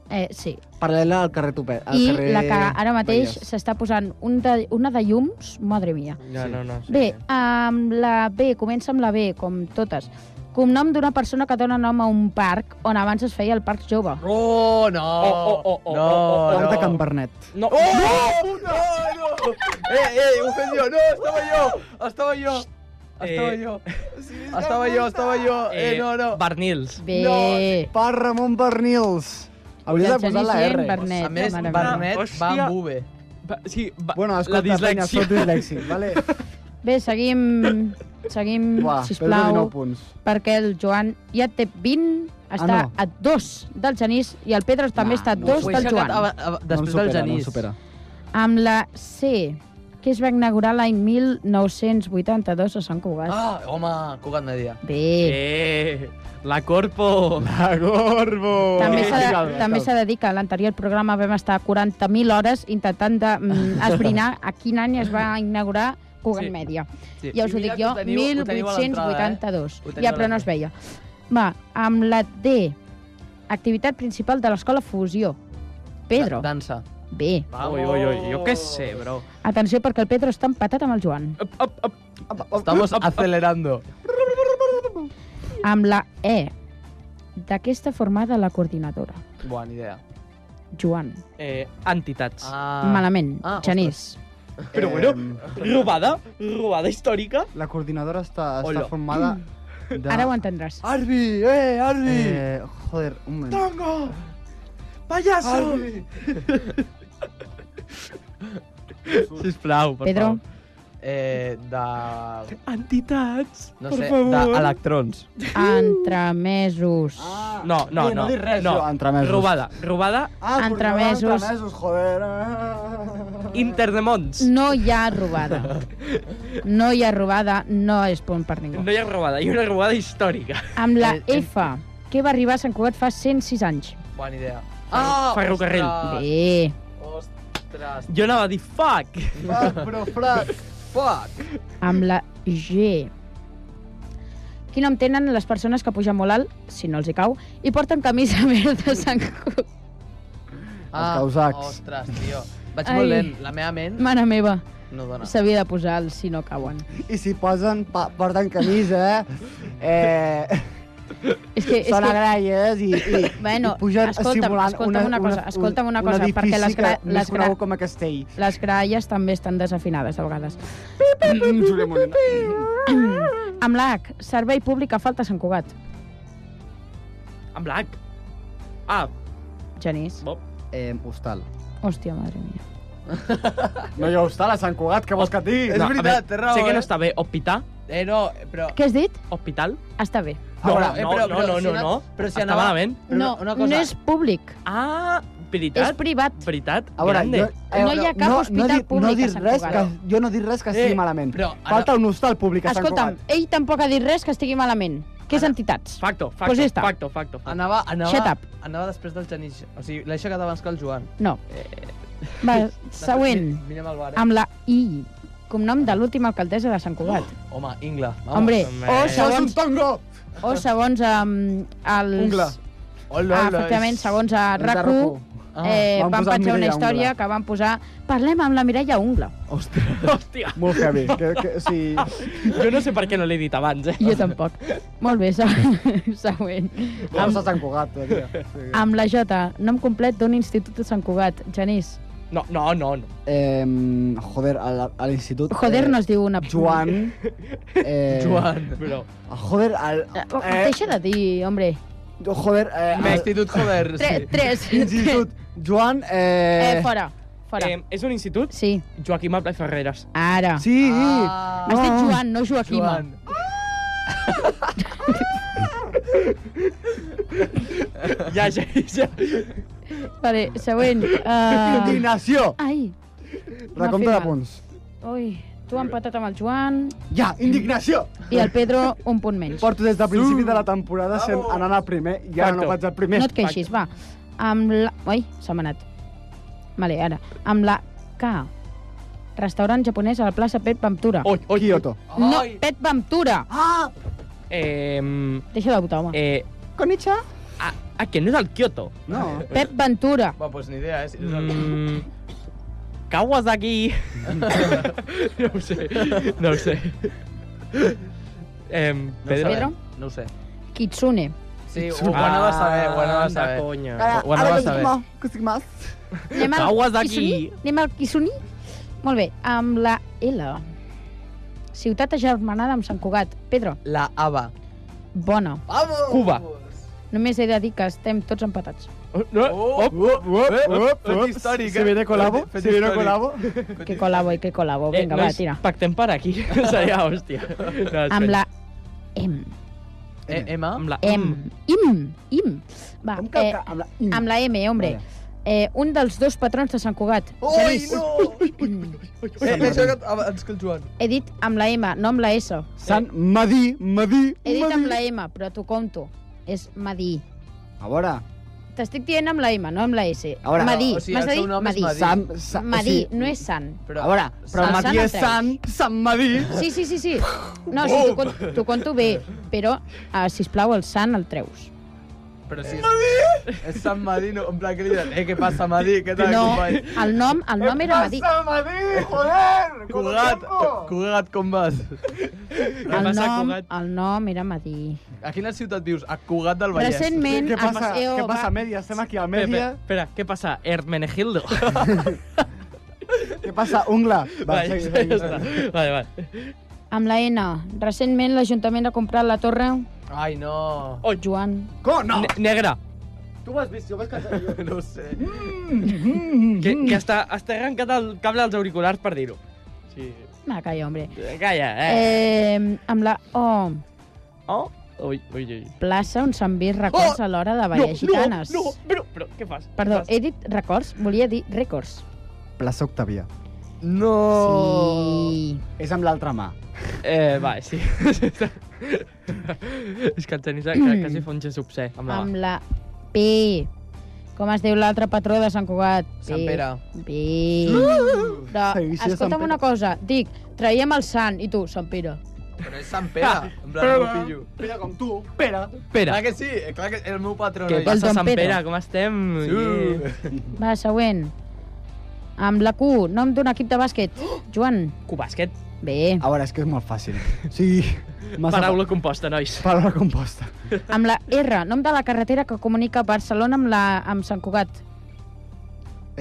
S4: Eh, sí.
S8: Paral·lela al carrer Tupet. Al
S4: I
S8: carrer...
S4: la que ara mateix
S8: Vallès.
S4: s'està posant un de, una de llums, madre mia.
S5: No, no, no.
S4: Bé, amb la B, comença amb la B, com totes. Cognom d'una persona que dona nom a un parc on abans es feia el Parc Jove.
S7: Oh, no!
S5: Oh, oh, oh, oh,
S7: no,
S5: oh,
S8: Parc de
S7: no.
S8: Can Bernet.
S5: No,
S7: ¡Oh! ¡No! ¡No! ¡Eh, eh! ¡Ofendió! ¡No! ¡Estaba yo! ¡Estaba yo! ¡Estaba
S5: Eh,
S7: yo! ¡Estaba yo! ¡Estaba yo! ¡Eh, no, no!
S5: Barnils.
S4: Bé,
S7: No,
S8: Per Ramon Bernils. Hauria
S4: Ja
S8: de
S4: ens
S8: posar la
S4: anisem,
S8: R.
S4: Bernet.
S7: A més,
S4: mare meva.
S7: Barnet va
S5: Hòstia.
S7: amb V.
S5: Ba sí, ba
S8: Bueno, escolta,
S5: la
S8: penya,
S5: dislexia.
S8: sóc dislèxic, vale?
S4: bé seguim, seguim
S8: Uah, perdo
S4: sisplau,
S8: 19 punts.
S4: perquè el Joan ja té 20, està
S8: Ah, no.
S4: a 2 del Genís i el Pedro també
S8: Nah,
S4: està a
S8: no,
S4: 2
S8: ho he
S4: del Joan.
S8: no em
S7: després
S8: supera,
S7: del
S8: No em
S7: Genís.
S8: supera.
S4: Amb la C, que es va inaugurar l'any 1982 a Sant Cugat.
S7: Ah, home, Cugat Media.
S4: Bé,
S5: Eh, la Corpo.
S8: La Gorbo!
S4: També s'ha de,
S8: Calma,
S4: també
S8: calma.
S4: s'ha de dir que a l'anterior programa vam estar 40.000 hores intentant de, mm, esbrinar a quin any es va inaugurar Cugat
S5: Sí.
S4: sí. Media.
S7: Sí.
S4: Ja us ho dic jo,
S7: eh?
S4: 1882.
S7: Ho teniu
S4: Ja,
S7: a
S4: però no es
S7: l'entrada.
S4: veia. Va, amb la D, activitat principal de l'escola Fusió. Pedro,
S7: Dansa.
S4: bé.
S5: Ui, ui, ui, jo què sé, bro.
S4: Atenció, perquè el Pedro està empatat amb el Joan.
S5: Up, up, up.
S7: Estamos acelerando.
S4: Amb la E, d'aquesta formada la coordinadora.
S7: Bona idea.
S4: Joan,
S5: Eh, entitats.
S7: Ah.
S4: malament.
S7: Ah, ostres.
S4: Genís,
S5: Però bueno,
S8: Em,
S5: robada, robada històrica.
S8: La coordinadora està, està
S5: Hola.
S8: formada de...
S4: ara ho entendràs.
S7: Arbi, eh, Arbi.
S8: Eh, joder, un moment.
S7: Tango. Payaso.
S5: Sisplau, per
S4: Pedro,
S7: Eh, de...
S5: Entitats,
S7: No
S5: per
S7: sé,
S5: favor.
S7: d'electrons.
S4: entremesos.
S7: Ah.
S5: No, no,
S8: Eh,
S5: no,
S8: No dic res,
S5: no.
S8: jo. Entremesos.
S5: Robada, robada,
S8: Ah,
S4: Entremesos.
S8: coordinadora Entremesos, Ah. joder.
S5: interdemons.
S4: No hi ha robada. No hi ha robada, no és punt per ningú.
S5: No hi ha robada, hi ha una robada històrica.
S4: Amb la
S7: Eh, eh.
S4: F, que va arribar a Sant Cugat fa 106 anys.
S7: Bona idea. Ah,
S5: ferrocarril.
S7: Ostres.
S4: Bé,
S7: Ostres.
S5: Jo anava a dir fuck.
S8: Fuck, bro, fuck.
S7: Fuck.
S4: amb la G. Quin nom tenen les persones que pugen molt alt, si no els hi cau, i porten camisa verda a Sant Cugat?
S7: Ah,
S8: causacs.
S7: Ostres, tio. Vaig
S4: Ai.
S7: molt lent. La meva ment
S4: Mare meva,
S7: no dona.
S4: s'havia de posar el si no cauen.
S8: I si posen, pa, porten camisa, eh,
S4: És que,
S8: eh
S4: és
S8: són
S4: que
S8: agraies i, i,
S4: Bueno,
S8: i pugen
S4: escolta'm,
S8: simulant
S4: escolta'm una cosa, escolta'm una cosa,
S8: un edifici
S4: perquè les gra-
S8: que més
S4: les gra-
S8: conegut com a castell.
S4: les gralles també estan desafinades a vegades.
S8: Júlia Molina.
S4: Amb la H, servei públic a falta a Sant Cugat.
S5: Amb l'H. Ah,
S4: Genís.
S5: bo.
S8: Eh, hostal.
S4: Hòstia, madre mia.
S8: No hi ha hostal a Sant Cugat, què vols que et digui?
S7: És
S5: No, a
S7: veritat,
S5: veure,
S7: té raó,
S5: Sé que
S7: eh?
S5: no està bé. Hospital?
S7: Eh, no, però...
S4: Què has dit?
S5: Hospital?
S4: Està bé.
S5: No,
S7: Ara,
S5: no, no, no, no,
S7: eh, si
S5: no.
S7: Però si
S5: Està
S7: anava...
S5: malament.
S7: Però
S4: no és públic.
S5: Ah, Veritat?
S4: És privat.
S5: Veritat?
S8: A veure,
S5: Grande.
S8: eh,
S4: No hi ha cap hospital
S8: no, dic-
S4: públic
S8: no
S4: a
S8: dic
S4: Sant
S8: res que,
S4: Cugat.
S8: jo no dic res que estigui
S5: Eh,
S8: malament.
S7: però ara-
S8: Falta un hostal públic a Sant
S4: Escolta'm,
S8: Cugat.
S4: ell tampoc ha dit res que estigui malament, que és entitats.
S5: Facto, facto,
S4: Pues ja està.
S5: facto, facto.
S7: Anava, anava,
S4: Shut up.
S7: anava després del Genís. O sigui, l'he aixecat abans que el Joan.
S4: No. Va, següent,
S7: Mi- Mirem el bar, eh?
S4: amb la I, cognom de l'última alcaldessa de Sant Cugat. Oh,
S7: Home, Ingla. Vamos.
S4: Hombre, o
S5: home.
S4: segons,
S8: tongo!
S4: o segons um, els...
S8: Ungla.
S7: Hola,
S4: Ah,
S7: hola,
S4: efectivament,
S7: és-
S4: segons a
S8: Els de
S4: RAC1,
S7: Ah,
S4: eh,
S8: van
S4: van,
S8: posar
S4: penjar una
S8: Mireia
S4: història
S8: Ungla.
S4: que van posar Parlem amb la Mireia Ungla.
S8: Ostres,
S5: Hòstia,
S8: molt heavy. Que, que, o sigui,
S5: jo no sé per què no l'he dit abans, eh?
S4: Jo tampoc. Molt bé, se- següent.
S8: vamos a Sant Cugat, tia. Sí.
S4: Amb la J, nom complet d'un institut de Sant Cugat. Genís.
S5: No, no, no, no.
S8: Eh, joder, a la- a l'institut...
S4: Joder, no es diu una...
S8: Joan... Eh,
S7: Joan.
S5: Però...
S8: Joder, al...
S4: Eh, oh, Deixa de dir, hombre.
S8: Joder, eh,
S7: Al
S8: al...
S7: Institut Joder,
S4: Tre,
S7: sí.
S4: tres.
S8: Institut Joan... Eh...
S4: Eh, fora, fora.
S5: Eh, és un institut?
S4: Sí,
S5: Joaquim Abla i Ferreres.
S4: ara.
S8: Sí! Oh.
S7: Ah,
S4: Has dit
S8: no.
S4: Joan, no Joaquima.
S7: Joan.
S5: Ja, ja, ja.
S4: Vale, següent. Uh...
S8: Indignació!
S4: Ai.
S8: Recompte
S4: m'ha
S8: de
S4: fet mal.
S8: punts.
S4: Ui, tu ha empatat amb el Joan
S8: Ja, indignació!
S4: i el Pedro un punt menys.
S8: Porto des de principi de la temporada sent anant al primer i ara no
S5: Facto.
S8: vaig al primer.
S4: No et queixis, va. Amb la... Ui, s'ha manat. Vale, ara. Amb la K. Restaurant japonès a la plaça Pet Ventura.
S5: Oi, oi,
S8: Kyoto.
S4: No,
S7: Ai.
S4: Pet Ventura!
S8: Ah!
S5: Eh,
S4: Deixa de votar, home.
S5: eh,
S8: Konnichiwa!
S5: a, a que no és el Kyoto?
S8: No.
S4: Pep Ventura.
S7: Va, pues ni idea, eh? Si no és el-
S5: Mm, Kawasaki. no ho sé, no ho sé. Eh,
S7: No ho
S4: Pedro?
S5: Pedro?
S7: sabem, No ho sé.
S4: Kitsune.
S7: Sí, ho, ho anava a saber, ho anava a saber.
S5: Anda, conya.
S7: Ho- ho anava a saber.
S8: que estic mal.
S4: Anem al
S5: Kawasaki.
S4: Kitsuni? Anem al Kitsuni? Molt bé. Amb la L. Ciutat agermanada amb Sant Cugat. Pedro,
S7: La Ava.
S4: bona.
S7: Vamos!
S5: Cuba.
S4: Només he de dir que estem tots empatats.
S5: No,
S7: Oh,
S5: op.
S7: oh,
S8: Uop, uop,
S7: Fet
S8: uop.
S7: històric,
S8: Si viene colabo,
S7: Fet
S8: si viene
S7: històric.
S8: colabo.
S4: Que colabo i que colabo.
S5: Eh,
S4: Vinga, va,
S5: nois,
S4: tira.
S5: Pactem per aquí. Seria hòstia. No,
S4: Amb
S5: espera.
S4: la em M.
S7: Eh, Emma?
S5: Amb la
S4: M. Im. Im. Va,
S8: Amb
S4: eh,
S8: calca, amb la... Mm.
S4: amb la M, hombre.
S8: Vale.
S4: Eh, un dels dos patrons de Sant Cugat.
S7: Ui,
S4: Genís.
S7: no! Eh, L'he
S8: Sant Martí.
S7: jugat abans que el Joan.
S4: He dit amb la M, no amb la S.
S8: Sant Madí, Madí,
S4: He dit amb la
S8: Madí.
S4: M, però t'ho compto. És Madí.
S8: A veure,
S4: T'estic dient amb la M, no amb la S.
S8: A veure,
S4: Madí.
S7: o sigui,
S4: M'has
S7: el
S4: de
S7: seu
S4: dir
S7: nom és
S4: Madí.
S7: Madí.
S8: Sant... Sant-
S4: Madí,
S8: o sigui,
S4: no és Sant.
S7: Però,
S8: A veure, però
S4: Sant
S8: Madí és
S4: Andreu.
S8: Sant, Sant Madí.
S4: Sí, sí, sí, sí. No, sí, t'ho con- t'ho conto bé, però, uh, sisplau, el Sant el treus.
S7: Però
S8: Eh,
S7: si... És Sant Madí, no, en plan que li diuen, eh, què passa, Madí? Què tal,
S4: No,
S7: company?
S4: el nom, el nom era Madí.
S7: Cugat, Cugat, com vas?
S5: Què
S4: El
S5: passa,
S4: nom,
S5: Cugat?
S4: el nom era Madí.
S7: A quina ciutat vius? A Cugat del Vallès.
S4: Recentment,
S8: Què passa?
S4: el CEO
S5: eh,
S8: Què
S4: va...
S8: passa, Mèdia? Estem aquí a
S5: Espera,
S8: Mèdia.
S5: espera, espera, què passa? Hermenegildo.
S8: Què passa, Ungla? Va,
S5: Vale,
S8: segui,
S5: ja
S8: segui.
S5: està. vale, vale.
S4: Amb la N. Recentment l'Ajuntament ha comprat la torre Oh,
S7: Ai, no.
S5: Oi,
S4: Joan.
S8: Com no?
S4: Ah.
S5: ne- negra,
S8: Tu m'has vist, jo vaig cansar.
S7: No ho sé.
S4: Mm,
S5: que, que està, està arrencat el cable dels auriculars per dir-ho. Sí.
S4: Me Ah, calla, hombre.
S5: Calla, eh.
S4: Eh, amb la O.
S5: Oh? Ui, ui, ui.
S4: Plaça on s'han vist records
S7: Oh,
S4: a l'hora de ballar gitanes.
S5: No, no, però, però què fas?
S4: Perdó,
S5: Què fas?
S4: he dit records, volia dir rècords.
S8: Plaça Octavia. Oh.
S7: No.
S4: Sí.
S8: És amb l'altra mà.
S5: Eh, va, sí. És que el Genís mm. quasi fa un gest obsè amb la mà.
S4: Amb la P. Com es diu l'altre patró de Sant Cugat? P.
S7: Sant Pere.
S4: P. Però,
S8: Seguici de Sant
S4: escolta'm
S8: Pere.
S4: una cosa, dic, traiem el Sant i tu, Sant Pere.
S7: Però és Sant Pere. En plan, no pillo.
S8: Pere com tu, Pere.
S5: Espera,
S7: Clar que sí, eh, clar que és el meu patró.
S5: què
S7: noi.
S4: El
S5: passa,
S4: Don
S5: Sant
S4: Pere.
S5: Pere? Com estem?
S7: Uh.
S5: Yeah.
S4: Va, següent. Amb la Q, nom d'un equip de bàsquet. Joan.
S5: Cubàsquet,
S4: Bé.
S8: A veure, és que és molt fàcil. Sí. Massa
S5: paraula composta, nois.
S8: Paraula composta.
S4: Amb la R, nom de la carretera que comunica Barcelona amb, la, amb Sant Cugat.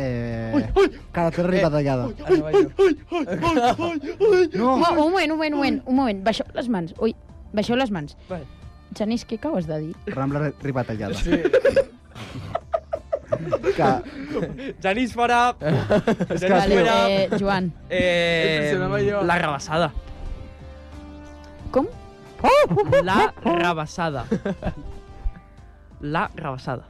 S8: Eh... Ui, ui! Carretera Ribadallada.
S7: Anava jo.
S8: No!
S4: Oh, un moment, un moment, un moment, un moment. Baixeu les mans. Ui, baixeu les mans.
S5: Vale.
S4: Genís, què acabes de dir?
S8: Rambla Ri- Ribadallada.
S7: Sí.
S8: Que...
S5: Genís fora! Genís
S8: que-
S4: Vale,
S5: fora!
S4: eh, Joan.
S5: Eh,
S7: Impressionava jo.
S5: la rabassada.
S4: Com? Oh, uh,
S5: La rabassada. La rabassada.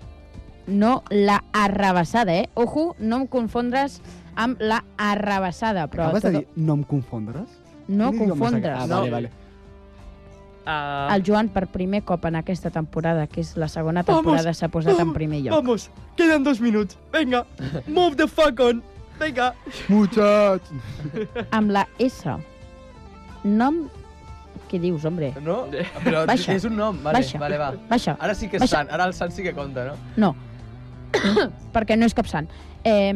S4: no la arrabassada, eh? Ojo, no em confondres amb la arrabassada, però...
S8: Acabes de
S4: tot-
S8: dir, no em confondres?
S4: No
S8: Quin idioma és aquest?
S4: confondres.
S8: Ah,
S5: No.
S8: vale, vale.
S5: Uh,
S4: El Joan, per primer cop en aquesta temporada, que és la segona temporada, s'ha posat en primer lloc.
S5: Vamos, quedan dos minutos. Venga, move the fuck on. Venga.
S8: Muchach!
S4: Amb la S. Nom... Què dius, hombre?
S7: No? Però
S4: Baixa.
S7: és un nom. Vale,
S4: Baixa.
S7: vale, va.
S4: Baixa.
S7: Ara sí que és
S4: Baixa.
S7: sant. Ara el sant sí que compta, no?
S4: No. Perquè no és cap sant. Eh,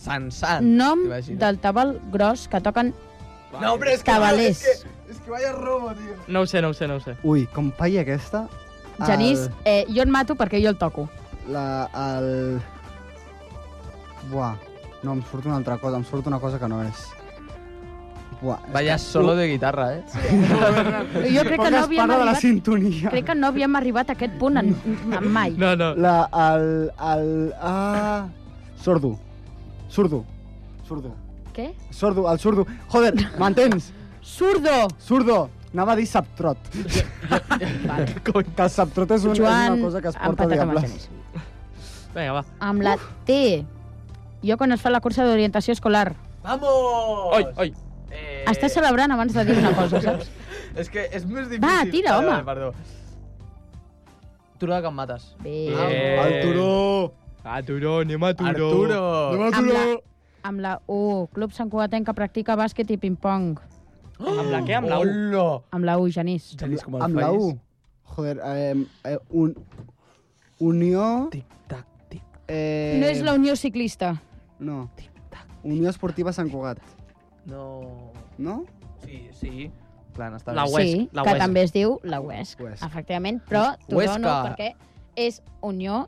S7: Sant, sant.
S4: nom
S7: t'imagines?
S4: del tabal gros que toquen
S7: No, però és que...
S4: tabalers.
S7: És que vaya robo, tio.
S5: No ho sé, no ho sé, no ho sé.
S8: Ui, com faig aquesta... el-
S4: Genís, eh, jo et mato perquè jo el toco.
S8: La... El... Buah, no, em surt una altra cosa, em surt una cosa que no és. Buah, és
S7: Vaya solo de guitarra, eh?
S4: Jo crec que no havíem
S8: parla de la
S4: arribat,
S8: sintonia.
S4: crec que no havíem arribat a aquest punt en, en mai.
S5: No, no.
S8: La... El... el ah... Sordo. Sordo. Sordo.
S4: Què?
S8: Sordo, el sordo. Joder, m'entens?
S4: Surdo!
S8: Sordo. Anava a dir saptrot.
S4: Vale.
S8: Que el saptrot és, un, és
S4: Joan,
S8: una cosa que es porta,
S4: empatat amb el
S8: diguem
S4: Genís.
S5: Vinga, va.
S4: Amb la T. Jo quan es fa la cursa d'orientació escolar.
S7: Vamos!
S5: Oi, oi.
S7: Eh...
S4: Estàs celebrant abans de dir una cosa, saps?
S7: És que és més difícil.
S4: Va, tira,
S7: Vale,
S4: home.
S7: Vale, perdó. Turó de Can Mates.
S4: Bé.
S5: Eh.
S8: El turó.
S5: A Turó, anem a Turó.
S7: Arturo!
S4: Amb la, amb la U. Club Sant Cugatenc que practica bàsquet i ping-pong.
S5: Amb la què? Amb la U?
S7: Hola!
S4: Amb la U, Genís.
S7: Genís, com el
S8: Amb la
S7: fallis.
S8: U. Joder, eh, eh, un... Unió...
S7: Tic-tac, tic.
S8: Eh,
S4: No és la Unió Ciclista.
S8: No. Unió Esportiva Sant Cugat.
S7: No...
S8: No?
S7: Sí, sí. Clar, està
S5: La
S7: bé.
S5: web. Huesc,
S4: sí,
S5: la
S4: que
S5: Huesc.
S4: també es diu la UESC,
S8: Huesc.
S4: efectivament, però Turó no,
S7: Huesca.
S4: perquè és Unió...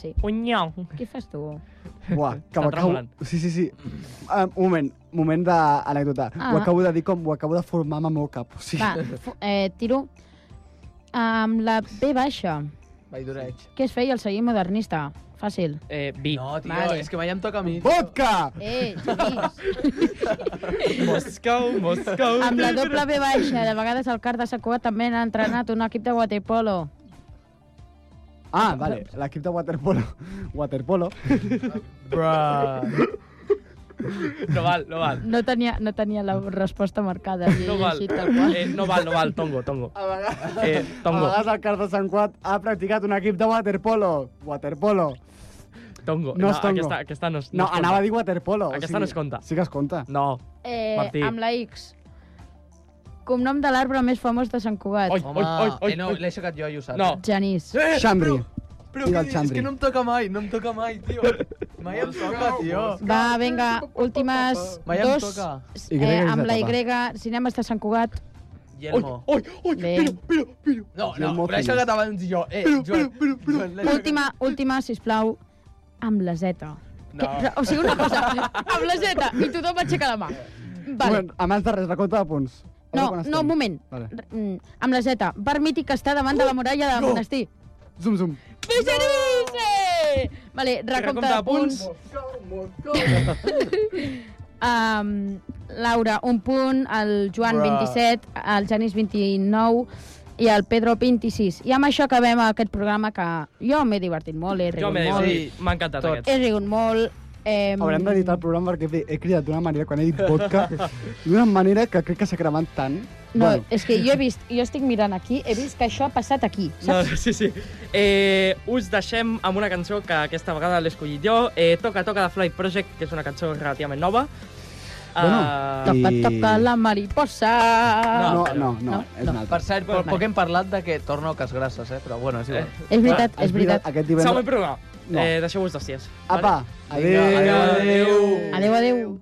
S4: Sí.
S5: Punyau.
S4: Què fas tu?
S8: Buah, que
S5: Està
S8: ho acabo...
S5: tremolant.
S8: Sí, sí, sí. Um, un moment, moment d'anècdota.
S4: Ah.
S8: Ho acabo de dir com ho acabo de formar amb el meu cap. O sigui,
S4: Va, fu- eh, tiro. Amb la B baixa.
S7: Valldoreig.
S4: Què es feia el celler modernista? Fàcil.
S5: Eh, vi.
S7: No, tio,
S4: Vale.
S7: és que mai em toca a mi.
S8: Vodka!
S4: Eh, Genís.
S5: Moscou, Moscou.
S4: Amb la doble B baixa, de vegades al car de Sant Cugat també n'ha entrenat un equip de waterpolo.
S8: Ah, vale, l'equip de waterpolo. Waterpolo.
S7: Bruh.
S5: No val, no val.
S4: No tenia, no tenia la resposta marcada. l'he
S5: No val.
S4: llegit tal qual.
S5: Eh, no val, no val. Tongo, tongo.
S8: A vegades,
S5: Eh,
S8: a
S5: tongo,
S8: vegades el car de Sant Cuat ha practicat un equip de waterpolo. Waterpolo.
S5: tongo.
S8: No és tongo.
S5: Aquesta, aquesta no, es-
S8: No,
S5: es compta.
S8: anava a dir waterpolo.
S5: Aquesta no es compta.
S8: Sí que es compta.
S5: No.
S4: Eh,
S5: Martí.
S4: Amb la X. Cognom de l'arbre més famós de Sant Cugat.
S5: Oi,
S7: Home,
S5: oi, oi, oi.
S7: eh, no, l'he aixecat jo, i ho saps.
S5: No.
S4: Genís.
S7: Eh,
S8: Xandri.
S7: Però
S8: I
S7: què
S8: del
S7: dius? És
S8: Xandri.
S7: que no em toca mai, no em toca mai, tio. Mai em toca, tio.
S4: Va, vinga, últimes
S7: Mai em
S4: dos.
S7: toca.
S8: Y
S4: Eh,
S8: és
S4: amb la
S8: de
S4: Y,
S8: tapar.
S4: cinemes de Sant Cugat.
S7: Yelmo.
S5: Oi, oi,
S4: Bé.
S5: piro, piro, piro.
S7: No, no,
S8: Yelmo
S7: l'he
S8: Feliz.
S7: aixecat abans jo. Eh, Joan, Joan, l'he aixecat-
S4: Última, última, sisplau, amb la Z.
S7: No.
S4: Que- O sigui, una cosa, amb la Z, i tothom aixeca la mà.
S8: Un
S4: Vale.
S8: moment, abans de res, recompte de punts. A veure
S4: No,
S8: quan
S4: no,
S8: estem.
S4: un moment.
S8: Vale. Uh,
S4: R- mm, Amb la Z, bar mític que està davant de la muralla del monestir.
S8: Zoom, zoom.
S4: Bé, Genís! Eh! Vale, recompte de punts. Um, Laura, un punt, el Joan,
S7: Bruh.
S4: 27, el Genís, 29 i el Pedro, 26. I amb això acabem aquest programa que jo m'he divertit molt, he
S5: Jo
S4: rigut
S5: m'he
S4: molt,
S5: dit, m'ha encantat
S7: Tot.
S5: aquest.
S4: he rigut molt. Eh,
S8: Haurem d'editar el programa perquè he, he cridat d'una manera, quan he dit vodka, d'una manera que crec que s'ha cremat tant.
S4: No, és que jo he vist, jo estic mirant aquí, he vist que això ha passat aquí,
S5: No,
S4: saps?
S5: sí, sí. Eh, us deixem amb una cançó que aquesta vegada l'he escollit jo. Eh, toca, toca de Fly Project, que és una cançó relativament nova.
S8: Bueno,
S5: Ah,
S8: i-
S4: Toca, toca la mariposa.
S5: No,
S8: no, no, no,
S4: no,
S8: és un altre.
S7: Per cert, per poc hem parlat de que torno a Cas Grasses, eh? Però bueno, és igual.
S4: És veritat,
S8: Has
S4: és veritat.
S8: cridat Aquest
S5: Següent
S8: divendres...
S5: programa.
S8: No.
S5: Eh, deixeu-vos d'hòsties.
S8: Apa,
S7: Vinga,
S8: adéu.
S7: adéu.
S4: Adéu, adéu.
S10: Oh,